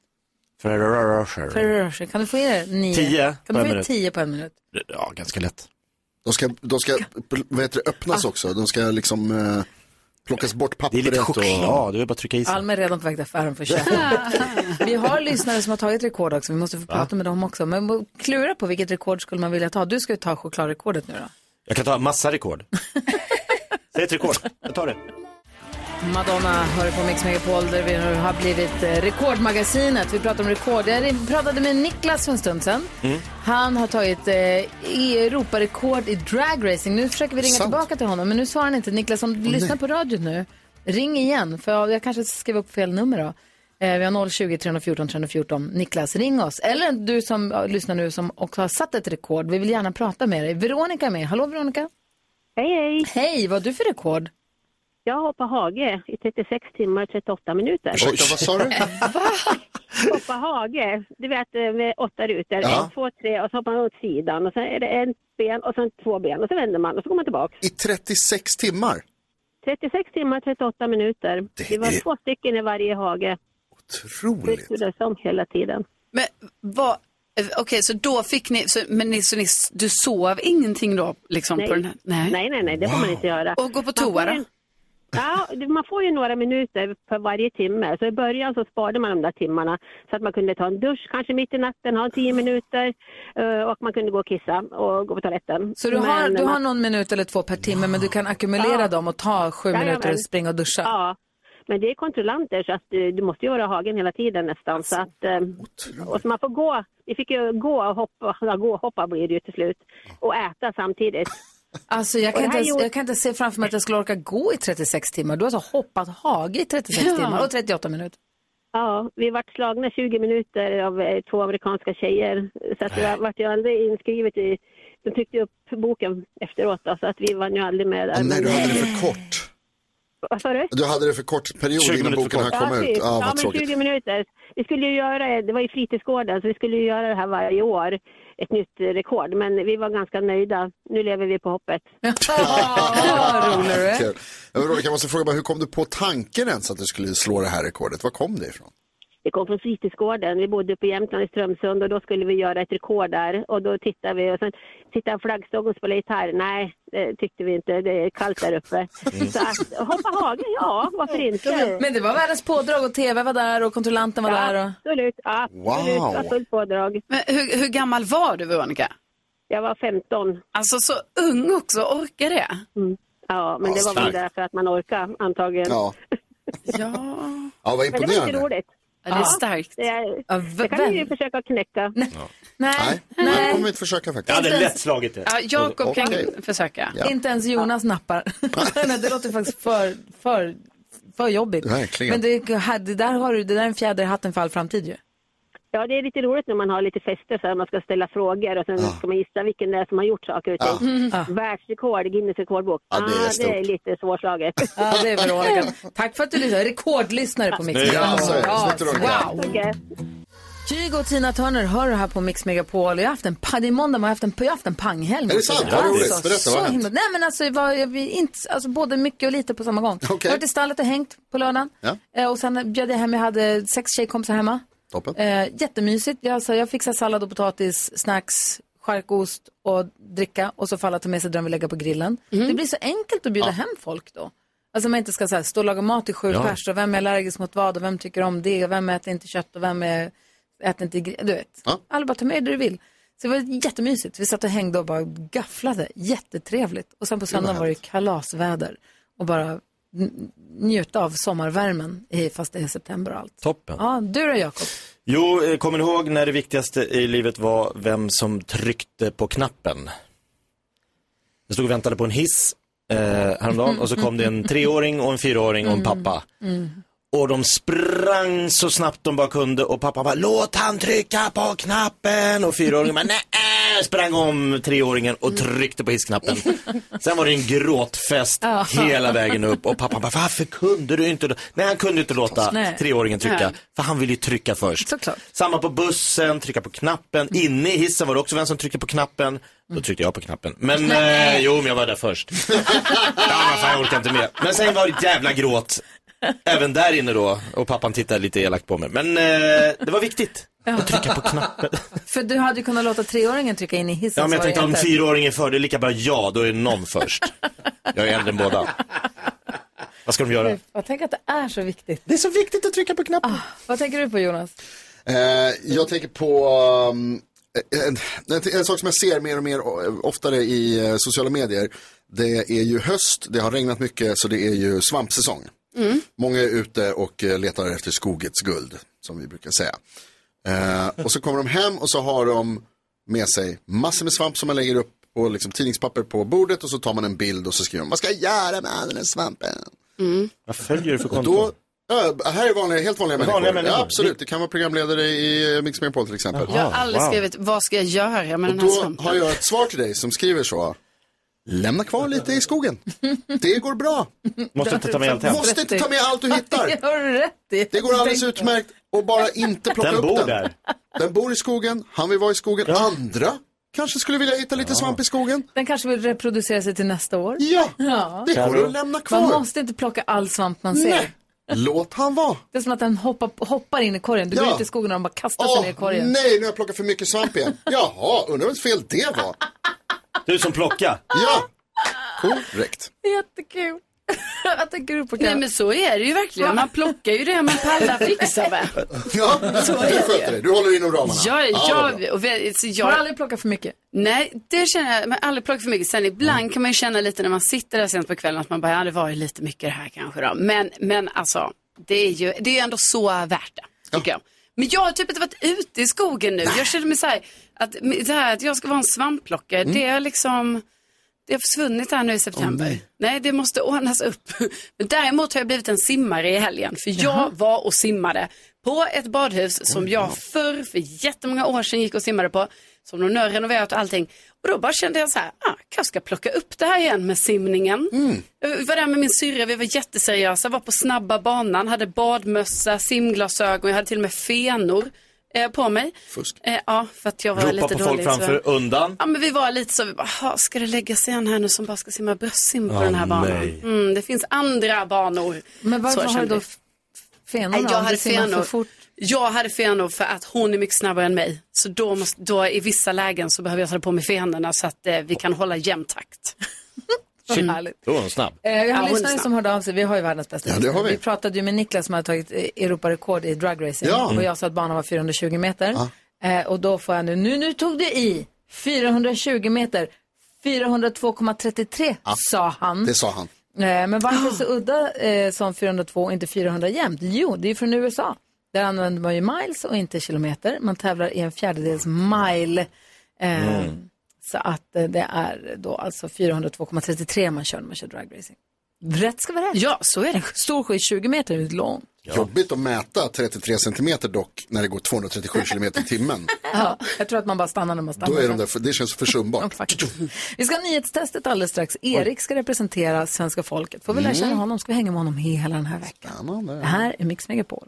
Speaker 3: Ferrero
Speaker 1: Ferrero Rocher, kan du få i dig nio?
Speaker 3: Tio
Speaker 1: kan
Speaker 2: på
Speaker 1: du få i
Speaker 2: en
Speaker 1: dig
Speaker 2: minut.
Speaker 1: tio på en minut?
Speaker 3: Ja, ganska lätt.
Speaker 2: De ska, de ska vad heter det, öppnas också. De ska liksom eh, plockas bort pappret. och...
Speaker 3: Ja, det är bara att trycka i sig.
Speaker 1: Alma är redan på väg till affären för att köpa. Vi har lyssnare som har tagit rekord också, vi måste få
Speaker 3: Va?
Speaker 1: prata med dem också. Men klura på vilket rekord skulle man vilja ta. Du ska ju ta chokladrekordet nu då.
Speaker 3: Jag kan ta massa rekord. Säg ett rekord, jag tar det.
Speaker 1: Madonna hör på Mix Megapol där vi har blivit eh, Rekordmagasinet. Vi pratar om rekord. Jag pratade med Niklas för en stund sedan.
Speaker 12: Mm.
Speaker 1: Han har tagit eh, Europarekord i dragracing. Nu försöker vi ringa
Speaker 12: Sant.
Speaker 1: tillbaka till honom, men nu svarar han inte. Niklas, om du
Speaker 12: Åh,
Speaker 1: lyssnar
Speaker 12: nej.
Speaker 1: på radion nu, ring igen. För jag kanske skrev upp fel nummer då. Eh, vi har 020 314 314. Niklas, ring oss. Eller du som eh, lyssnar nu som också har satt ett rekord. Vi vill gärna prata med dig. Veronica är med. Hallå Veronica.
Speaker 13: Hej, hej.
Speaker 1: Hej, vad har du för rekord?
Speaker 13: Jag hoppar hage i 36 timmar och 38 minuter.
Speaker 2: Ursäkta, vad sa du?
Speaker 13: Hoppa hage, du vet eh, med åtta rutor.
Speaker 2: Ja.
Speaker 13: En, två, tre och så hoppar man åt sidan och sen är det en ben och sen två ben och så vänder man och så går man tillbaka.
Speaker 2: I 36 timmar?
Speaker 13: 36 timmar och 38 minuter. Det, var
Speaker 2: är-
Speaker 13: två stycken i varje hage.
Speaker 2: Otroligt.
Speaker 13: Det turades om hela tiden.
Speaker 4: Men vad, eh, okej, så då fick ni, så, men ni, så ni, du sov ingenting då liksom
Speaker 13: Nej.
Speaker 4: på den här?
Speaker 13: Nej, nej, nej, det får man inte göra.
Speaker 4: Och gå på
Speaker 13: Man får
Speaker 4: toa
Speaker 13: ju-
Speaker 4: då?
Speaker 13: Ja, det- man får ju några minuter för varje timme. Så i början så sparade man de där timmarna så att man kunde ta en dusch kanske mitt i natten, ha tio minuter eh, och man kunde gå och kissa och gå på toaletten.
Speaker 1: Så du har,
Speaker 13: Men
Speaker 1: du har
Speaker 13: man-
Speaker 1: någon minut eller två per timme, men du kan ackumulera
Speaker 13: Ja.
Speaker 1: dem och ta sju
Speaker 13: Jajamän.
Speaker 1: minuter och springa och duscha.
Speaker 13: Ja, men det är kontrollanter så att eh, du, du måste göra hagen hela tiden nästan. Så att, eh, och så man får gå, vi fick ju gå och hoppa, ja, gå och hoppa blir det ju till slut och äta samtidigt.
Speaker 1: Alltså jag
Speaker 13: Och
Speaker 1: kan,
Speaker 13: det
Speaker 1: inte
Speaker 13: här
Speaker 1: ens,
Speaker 13: gjorde-
Speaker 1: jag kan inte se framför mig att jag skulle orka gå i 36 timmar. Du har alltså hoppat hage i 36
Speaker 13: Ja.
Speaker 1: timmar och 38 minuter.
Speaker 13: Ja, vi vart slagna 20 minuter av eh, två amerikanska tjejer. Så att jag vart ju aldrig inskrivet i... De tryckte upp boken efteråt då, så att vi vann ju aldrig med där.
Speaker 2: Åh nej,
Speaker 13: Men,
Speaker 2: du hade det
Speaker 13: eh,
Speaker 2: för kort.
Speaker 13: Vad sa du?
Speaker 2: Du hade det för kort period
Speaker 3: 20
Speaker 2: innan
Speaker 3: minuter
Speaker 2: boken
Speaker 3: för
Speaker 2: här
Speaker 3: kort.
Speaker 2: kom ut.
Speaker 13: typ.
Speaker 2: Ja,
Speaker 13: ja
Speaker 2: vad
Speaker 13: men
Speaker 2: tråkigt.
Speaker 13: 20 minuter. Vi skulle ju göra, det var i fritidsgården, så vi skulle ju göra det här varje år. Ett nytt eh, rekord, men vi var ganska nöjda. Nu lever vi på hoppet.
Speaker 2: Kul. Ja, men Veronica, jag måste fråga, bara, hur kom du på tanken ens att du skulle slå det här rekordet? Var kom det ifrån?
Speaker 13: Vi kom från fritidsgården. Vi bodde uppe i Jämtland i Strömsund och då skulle vi göra ett rekord där. Och då tittade vi och sen tittade flaggstången och spelade gitarr. Nej, det tyckte vi inte. Det är kallt där uppe. Så att, hoppa hage, ja, varför inte?
Speaker 1: Men det var världens pådrag och tv var där och kontrollanten var
Speaker 13: Ja,
Speaker 1: där. Och...
Speaker 13: Absolut, absolut.
Speaker 1: Wow.
Speaker 13: Wow. Fullt pådrag.
Speaker 4: Men hur, hur gammal var du Veronica?
Speaker 13: Jag var 15.
Speaker 4: Alltså så ung också, orkar det?
Speaker 13: Ja, men
Speaker 4: Ja,
Speaker 13: det var väl
Speaker 4: starkt.
Speaker 13: därför att man orkar antagligen.
Speaker 2: Ja.
Speaker 4: ja.
Speaker 2: Ja, vad
Speaker 13: Men det var
Speaker 2: imponerande.
Speaker 13: lite roligt.
Speaker 4: Ja, det är starkt.
Speaker 13: Det, är,
Speaker 1: ja,
Speaker 13: det kan vi ju försöka knäcka.
Speaker 1: Nej.
Speaker 2: Nej, det kommer vi inte försöka faktiskt.
Speaker 1: Jag hade lätt
Speaker 3: slagit det.
Speaker 4: Ja, Jakob kan
Speaker 2: Okej.
Speaker 4: försöka.
Speaker 1: Inte ens Jonas nappar. Nej, det låter faktiskt för, för, för jobbigt.
Speaker 2: Verkligen.
Speaker 1: Men det, det, där har du, det där är en fjäder i hatten för all framtid ju.
Speaker 13: Ja, det är lite roligt när man har lite fester så här, man ska ställa frågor och sen ska man gissa vilken det är som har gjort saker och ting. Världsrekord, Guinness rekordbok.
Speaker 1: Ja, det är
Speaker 13: ah, det är
Speaker 1: stort.
Speaker 13: lite svårslaget.
Speaker 1: Ja, det är Veronica. Tack för att du lyssnade. Rekordlyssnare på Mix
Speaker 2: Snyggt.
Speaker 1: Megapol.
Speaker 2: Ja, så är alltså det.
Speaker 1: Ja,
Speaker 2: Snyggt, Veronica.
Speaker 1: wow. Kygo och Tina Turner hör du här på Mix Megapol. Jag har haft en, pa- det är måndag, men jag har haft en, jag har haft en panghelg. Alltså,
Speaker 2: Är det sant? Vad roligt. Berätta,
Speaker 1: så
Speaker 2: vad har hänt?
Speaker 1: himla- Nej, men alltså, var, jag, vi inte, alltså, både mycket och lite på samma gång. Jag har varit i stallet och hängt på lördagen.
Speaker 2: Ja.
Speaker 1: Eh, och sen bjöd jag hem, jag hade sex tjejkompisar hemma.
Speaker 2: Toppen.
Speaker 1: Eh, jättemysigt. Jag, alltså, jag fixade sallad och potatis, snacks, charkost och dricka. Och så får alla ta med sig det de vill lägga på grillen.
Speaker 12: Mm.
Speaker 1: Det blir så enkelt att bjuda hem folk då. Alltså man inte ska så här, stå och laga mat i sju
Speaker 12: Ja.
Speaker 1: pers och vem är allergisk mot vad och vem tycker om det och vem äter inte kött och vem är, äter inte gri- Du vet. Alla bara ta med det du vill. Så det var jättemysigt. Vi satt och hängde och bara gafflade. Jättetrevligt. Och sen på
Speaker 12: Det var
Speaker 1: söndagen var det kalasväder och bara n- njuta av sommarvärmen i- fast det är september och allt.
Speaker 3: Toppen.
Speaker 1: Ja, du då Jakob?
Speaker 3: Jo, eh, kommer ni ihåg när det viktigaste i livet var vem som tryckte på knappen? Jag stod och väntade på en hiss eh, häromdagen och så kom det en treåring och en fyraåring och en
Speaker 12: Mm.
Speaker 3: pappa. Och de sprang så snabbt de bara kunde och pappa bara låt han trycka på knappen och fyraåringen bara nej sprang om treåringen
Speaker 12: Mm.
Speaker 3: och tryckte på hissknappen. Sen var det en gråtfest
Speaker 12: Ja.
Speaker 3: hela vägen upp och pappa bara varför kunde du inte? Nej han kunde inte låta
Speaker 12: Nej.
Speaker 3: treåringen trycka
Speaker 12: Nej.
Speaker 3: för han ville ju trycka först.
Speaker 1: Såklart.
Speaker 3: Samma på bussen, trycka på knappen. Inne i hissen var det också vem som tryckte på knappen. Då tryckte jag på knappen. Men eh, jo, men jag var där först. ja, men fan, jag orkar inte med. Men sen var det ett jävla gråt. Även där inne då. Och pappan tittade lite elakt på mig. Men eh, det var viktigt. Att trycka på knappen.
Speaker 1: För du hade ju kunnat låta treåringen trycka in i hissen.
Speaker 3: Ja, men
Speaker 1: så
Speaker 3: jag
Speaker 1: var det
Speaker 3: tänkte om
Speaker 1: inte-
Speaker 3: fyraåringen för det är lika bra ja, då är någon först. Jag är äldre än båda. Vad ska de göra?
Speaker 1: Jag tänker att det är så viktigt.
Speaker 3: Det är så viktigt att trycka på knappen.
Speaker 1: vad tänker du på Jonas?
Speaker 2: Eh, jag tänker på um, en, en, en sak som jag ser mer och mer eh, oftare i eh, sociala medier. Det är ju höst, det har regnat mycket så det är ju svampsäsong. Många är ute och eh, letar efter skogets guld, som vi brukar säga. Eh, och så kommer de hem och så har de med sig massor med svamp som man lägger upp på liksom, tidningspapper på bordet och så tar man en bild och så skriver man vad ska jag göra med all den här svampen?
Speaker 3: Vad följer du för
Speaker 2: konto? Då, ja, här är vanliga, helt vanliga,
Speaker 3: Vanliga
Speaker 2: människor.
Speaker 3: människor.
Speaker 2: Ja, absolut, det kan vara programledare i eh, Mix Megapol till exempel.
Speaker 4: Jag har aldrig skrivit, vad ska jag göra med
Speaker 2: Och
Speaker 4: den här
Speaker 2: då
Speaker 4: svampen?
Speaker 2: har jag ett svar till dig som skriver så. Lämna kvar lite i skogen. Det går bra.
Speaker 3: Måste inte ta med allt hem.
Speaker 2: Måste inte ta med allt du hittar.
Speaker 1: Det har du rätt i.
Speaker 2: Det går alldeles utmärkt och bara inte plocka
Speaker 3: Den
Speaker 2: upp
Speaker 3: bor
Speaker 2: den.
Speaker 3: där.
Speaker 2: Den bor i skogen, han vill vara i skogen. Andra kanske skulle vilja hitta lite svamp i skogen.
Speaker 1: Den kanske vill reproducera sig till nästa år.
Speaker 2: Ja, det går
Speaker 1: Carro.
Speaker 2: att lämna kvar.
Speaker 1: Man måste inte plocka all svamp man ser.
Speaker 2: Nej. Låt han vara.
Speaker 1: Det är som att den hoppar, hoppar in i korgen. Du
Speaker 2: Ja.
Speaker 1: går ut i skogen och de bara kastar sig
Speaker 2: Åh,
Speaker 1: ner i Alltså, korgen.
Speaker 2: nej, nu har jag plockat för mycket svamp igen. Jaha, undrar vems fel det var.
Speaker 3: Du som plockar.
Speaker 2: Ja, korrekt.
Speaker 1: Jättekul. Vad tänker du på
Speaker 4: Nej men så är det ju verkligen. Man plockar ju det man pallar fixa med.
Speaker 2: Ja,
Speaker 4: Så är
Speaker 2: du
Speaker 4: det.
Speaker 2: sköter dig. Du håller inom ramarna.
Speaker 4: Jag,
Speaker 2: vad bra.
Speaker 4: jag, och vi, så jag,
Speaker 1: Har aldrig plockat för mycket?
Speaker 4: Nej, det känner jag. Men aldrig plockat för mycket. Sen ibland kan man ju känna lite när man sitter där sent på kvällen att man bara, ja det var ju lite mycket det här kanske då. Men, men alltså, det är ju det är ändå så värt det, tycker jag. Men jag har typ inte varit ute i skogen nu. Jag känner mig så här, att det här att jag ska vara en svampplockare,
Speaker 2: Mm.
Speaker 4: det är liksom, det har försvunnit här nu i september. nej. det måste ordnas upp. Men däremot har jag blivit en simmare i helgen, för jag var och simmade på ett badhus som jag förr, för jättemånga år sedan, gick och simmade på. Som de nu har renoverat och allting. Och då bara kände jag så här, ah, kanske ska plocka upp det här igen med simningen.
Speaker 3: Mm.
Speaker 4: Jag var där med min syrra, vi var jätteseriösa, var på snabba banan, hade badmössa, simglasögon, jag hade till och med fenor eh, på mig.
Speaker 2: Fusk.
Speaker 4: Eh, ja, för att jag var
Speaker 3: Ropa
Speaker 4: lite
Speaker 3: på
Speaker 4: dålig.
Speaker 3: folk
Speaker 4: i svärm.
Speaker 3: framför, undan.
Speaker 4: Ja, men vi var lite så, vi bara, "Jaha, ska det lägga sig en här nu som bara ska simma bröstsim på
Speaker 3: Ah,
Speaker 4: den här banan?
Speaker 3: nej.
Speaker 4: Mm, det finns andra banor.
Speaker 1: Men varför
Speaker 4: Så
Speaker 1: har du
Speaker 4: kände
Speaker 1: då
Speaker 4: jag.
Speaker 1: f- fenorna?
Speaker 4: Nej,
Speaker 1: om
Speaker 4: jag
Speaker 1: du
Speaker 4: hade
Speaker 1: simmar
Speaker 4: fenor.
Speaker 1: för fort?
Speaker 4: Jag hade fenor för att hon är mycket snabbare än mig. Så då, måste, då i vissa lägen så behöver jag ta på mig fenorna så att eh, vi kan hålla jämn takt.
Speaker 1: Shit.
Speaker 3: Typ. Då var hon snabb.
Speaker 1: Eh, Vi har
Speaker 4: Ja,
Speaker 1: en
Speaker 4: hon är
Speaker 1: lyssnare
Speaker 4: snabb.
Speaker 1: som hörde av sig. Vi har ju världens bästa
Speaker 2: Ja, det har vi.
Speaker 1: Vi pratade ju med Niklas som har tagit eh, Europarekord i dragracing.
Speaker 2: Ja.
Speaker 1: Och jag sa att banan var 420 meter. Eh, och då får jag nu, nu, nu tog det i 420 meter. 402,33
Speaker 2: Ja.
Speaker 1: sa han.
Speaker 2: Det sa han.
Speaker 1: Eh, Men varför så udda eh, som 402 och inte 400 jämt? Jo, det är från USA. Där använder man ju miles och inte kilometer. Man tävlar i en fjärdedels mile. Eh, Så att eh, det är då alltså 402,33 man kör när man kör dragracing. Rätt ska vara rätt. Ja, så är det. Stor skit 20 meter är ju lång.
Speaker 2: Jobbigt att mäta 33 centimeter dock när det går 237 kilometer i timmen.
Speaker 1: Ja, jag tror att man bara stannar när man stannar.
Speaker 2: Då är de där, för, det känns försumbart.
Speaker 1: Vi ska ha nyhetstestet alldeles strax. Erik ska representera svenska folket. Får vi lära känna
Speaker 2: Mm.
Speaker 1: honom, ska vi hänga med honom hela den här veckan. Det här är Mix Megapol.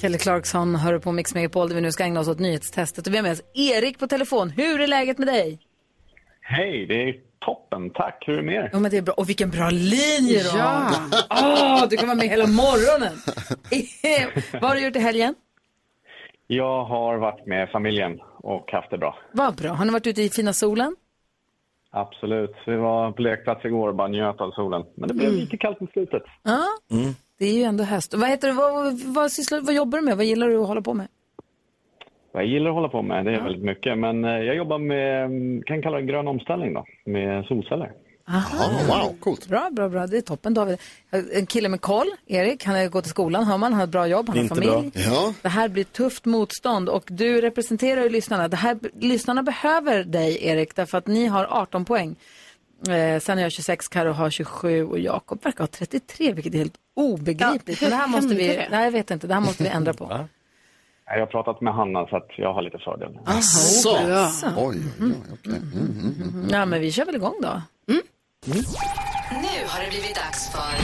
Speaker 1: Kelly Clarkson hör på Mix Megapol där vi nu ska ägna oss åt nyhetstestet. Och vi har med oss Erik på telefon. Hur är läget med dig?
Speaker 12: Hej, det är toppen. Tack. Hur är det med er?
Speaker 1: Jo men det är bra. Och vilken bra linje du
Speaker 12: Ja.
Speaker 1: har. Åh, du kan vara med hela morgonen. Eh, Vad har du gjort i helgen?
Speaker 12: Jag har varit med familjen och haft det bra.
Speaker 1: Vad bra. Har ni varit ute i fina solen?
Speaker 12: Absolut. Vi var på lekplats igår och bara njöt av solen. Men det blev
Speaker 1: Mm.
Speaker 12: lite kallt mot slutet.
Speaker 1: Ja, det är ju ändå höst. Vad heter du? Vad, vad, sysslar, vad jobbar du med? Vad gillar du att hålla på med?
Speaker 12: Vad jag gillar att hålla på med, det är väldigt mycket. Men eh, jag jobbar med, mm, kan kalla det grön omställning då, med solceller.
Speaker 1: Aha.
Speaker 12: wow,
Speaker 2: coolt.
Speaker 1: Bra, bra, bra. Det är toppen David. En kille med koll, Erik, han har ju gått i skolan, hör man. Han har ett bra jobb, han har
Speaker 2: Inte
Speaker 1: familj.
Speaker 2: bra. Ja.
Speaker 1: Det här blir tufft motstånd och du representerar ju lyssnarna. Det här, lyssnarna behöver dig, Erik, därför att ni har 18 poäng. Eh, sen är jag 26, Karo har 27 och Jakob verkar ha 33, vilket är helt obegripligt.
Speaker 4: Ja,
Speaker 1: Men det här
Speaker 4: hur
Speaker 1: måste vi,
Speaker 4: hände det?
Speaker 1: nej jag vet inte, det här måste vi ändra på.
Speaker 12: Jag har pratat med Hanna så att jag har lite fördel.
Speaker 1: Asså. Asså.
Speaker 2: Oj, oj, oj.
Speaker 1: Mm. Ja, men vi kör väl igång då.
Speaker 5: Nu har det blivit dags för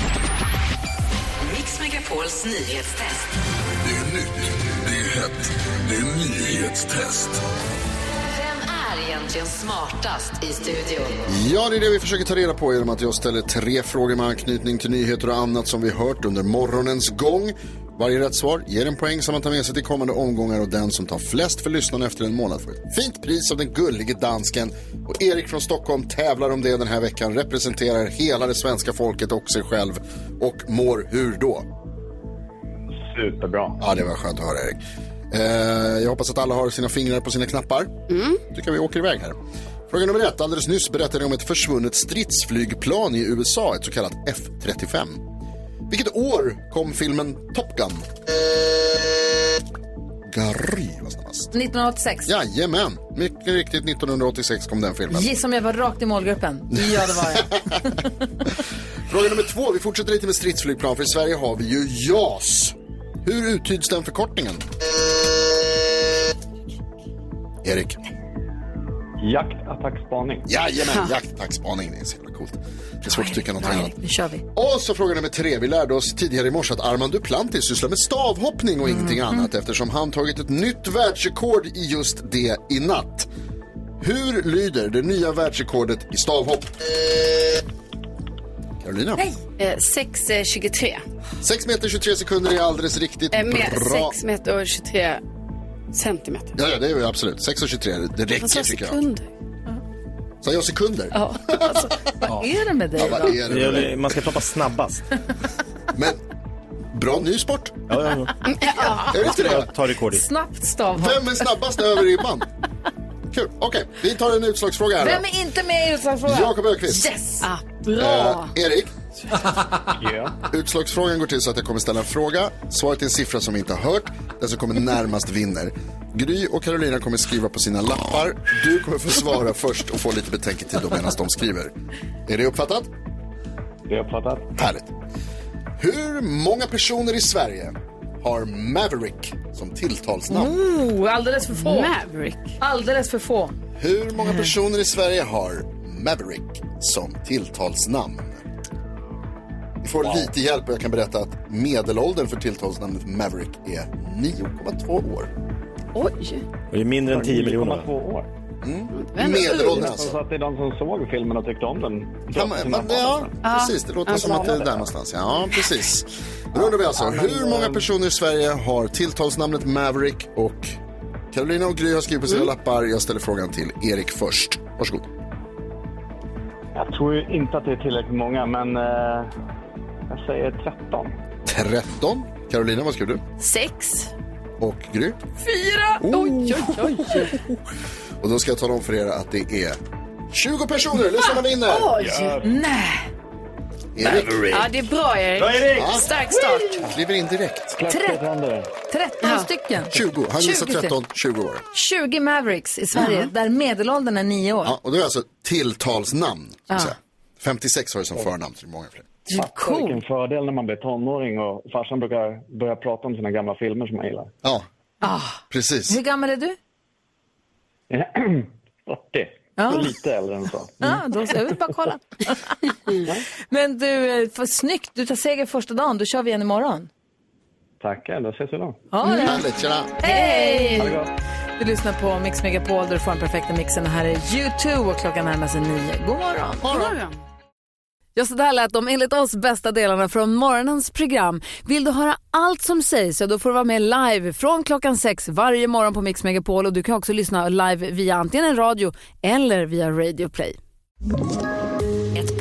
Speaker 5: Mix Megapols nyhetstest.
Speaker 6: Det är nytt, det är hett, det är nyhetstest.
Speaker 5: Vem är egentligen smartast i studion?
Speaker 2: Ja, det är det vi försöker ta reda på genom att jag ställer tre frågor med anknytning till nyheter och annat som vi hört under morgonens gång. Varje rätt svar ger en poäng som man tar med sig till kommande omgångar och den som tar flest för lyssnarna efter en månad får ett fint pris av den gullige dansken. Och Erik från Stockholm tävlar om det den här veckan, representerar hela det svenska folket och sig själv och mår hur då?
Speaker 12: Superbra.
Speaker 2: Ja, det var skönt att höra Erik. Eh, jag hoppas att alla har sina fingrar på sina knappar. Mm. tycker vi åker iväg här. Fråga nummer ett. Alldeles nyss berättade jag om ett försvunnet stridsflygplan i USA, ett så kallat F-35. Vilket år kom filmen Top Gun? Gary var snabbast.
Speaker 1: 1986.
Speaker 2: Jajamän, mycket riktigt 1986 kom den filmen.
Speaker 1: Gissa om jag var rakt i målgruppen. Ja, det var jag.
Speaker 2: Fråga nummer två. Vi fortsätter lite med stridsflygplan, för i Sverige har vi ju JAS. Hur uttyds den förkortningen? Erik.
Speaker 12: Jakt, attack, spaning.
Speaker 2: Jajamän, jaktattackspaning. Det är så jävla coolt. Det är svårt att tycka något annat.
Speaker 1: Nu kör vi.
Speaker 2: Och så fråga nummer tre. Vi lärde oss tidigare i morse att Armand Duplantis sysslar med stavhoppning och ingenting annat eftersom han tagit ett nytt världsrekord i just det i natt. Hur lyder det nya världsrekordet i stavhopp? Carolina?
Speaker 4: Eh, 6.23.
Speaker 2: 6 meter 23 sekunder är alldeles riktigt
Speaker 4: Eh, med
Speaker 2: bra.
Speaker 4: 6 meter och 23 centimeter.
Speaker 2: Ja, ja, det är ju absolut. 6 och 23, det
Speaker 4: Han
Speaker 2: räcker
Speaker 4: sa
Speaker 2: tycker jag.
Speaker 4: sekunder.
Speaker 2: Sa jag sekunder?
Speaker 4: Ja, alltså,
Speaker 1: vad är det med dig
Speaker 2: Ja, vad
Speaker 1: då?
Speaker 2: är det med dig?
Speaker 3: Man ska ploppa snabbast.
Speaker 2: Men bra ny sport.
Speaker 3: Ja, ja, ja.
Speaker 4: Mm, eh, ah,
Speaker 2: Är det inte det?
Speaker 3: Ta rekord i.
Speaker 1: Snabbt stavhopp.
Speaker 2: Vem är snabbast över ribban? Kul. Okej, vi tar en utslagsfråga här
Speaker 1: Vem
Speaker 2: då.
Speaker 1: är inte med i utslagsfrågan?
Speaker 2: Jakob Öqvist.
Speaker 1: Yes! Ah, bra!
Speaker 2: Eh, Erik. Utslagsfrågan går till så att jag kommer ställa en fråga. Svaret är en siffra som vi inte har hört. Den som kommer närmast vinner. Gry och Carolina kommer skriva på sina lappar. Du kommer få svara först och få lite betänketid då medan de skriver. Är det uppfattat?
Speaker 12: Det är uppfattat.
Speaker 2: Härligt. Hur många personer i Sverige har Maverick som tilltalsnamn.
Speaker 1: Oh, alldeles för få.
Speaker 4: Maverick.
Speaker 1: Alldeles för få.
Speaker 2: Hur många personer i Sverige har Maverick som tilltalsnamn? Ni får lite hjälp och jag kan berätta att medelåldern för tilltalsnamnet Maverick är 9,2 år.
Speaker 4: Oj!
Speaker 3: Det är mindre än 10 miljoner.
Speaker 12: år.
Speaker 2: Vem är Medelåldern, det? alltså.
Speaker 12: Så att det är de som såg filmen och tyckte om den.
Speaker 2: Ja, men, men, ja precis. Det låter som att det är där någonstans. Ja, precis. Då undrar vi alltså, hur många personer i Sverige har tilltalsnamnet Maverick och Carolina och Gry har skrivit på sina lappar. Jag ställer frågan till Erik först. Varsågod.
Speaker 12: Jag tror ju inte att det är tillräckligt många, men eh, jag säger 13.
Speaker 2: 13. Carolina, vad skrev du?
Speaker 4: Sex.
Speaker 2: Och Gry?
Speaker 4: Fyra! Oj, oj, oj.
Speaker 2: Och då ska jag tala om för er att det är 20 personer. Lyssnarna vinner!
Speaker 4: Oj! Nej.
Speaker 2: Erik.
Speaker 4: Ja, det är bra Erik.
Speaker 2: Ja.
Speaker 4: Stark start.
Speaker 2: Kliver in direkt.
Speaker 1: Tre- 13 stycken.
Speaker 2: 20. Han gissar
Speaker 1: 20 stycken.
Speaker 2: 13, 20 år.
Speaker 1: 20 Mavericks i Sverige där medelåldern är 9 år.
Speaker 2: Ja, och då är det alltså tilltalsnamn. Så
Speaker 1: Ja.
Speaker 2: att säga. 56 har det som förnamn, så det är många fler.
Speaker 1: Oh!
Speaker 12: Fatta vilken fördel när man blir tonåring och farsan brukar börja prata om sina gamla filmer som han gillar.
Speaker 2: Ja,
Speaker 1: Ah.
Speaker 2: precis.
Speaker 1: Hur gammal är du?
Speaker 12: 40.
Speaker 1: Ja.
Speaker 12: Så Lite äldre än så.
Speaker 1: Ja, då, jag vill bara kolla. Men du, eh, vad snyggt. Du tar seger första dagen. Då kör vi igen imorgon.
Speaker 12: Tackar, då ses vi då.
Speaker 1: Ja, det.
Speaker 2: Härligt, tjena.
Speaker 1: Hej!
Speaker 12: Ha det gott.
Speaker 1: Du lyssnar på Mix Megapol där du får den perfekta mixen. Det här är U2 och klockan närmar sig nio. God morgon!
Speaker 14: Ja, så där lät de enligt oss bästa delarna från morgonens program. Vill du höra allt som sägs så då får du vara med live från klockan sex varje morgon på Mix Megapol och du kan också lyssna live via antingen en radio eller via Radio Play.
Speaker 5: Ett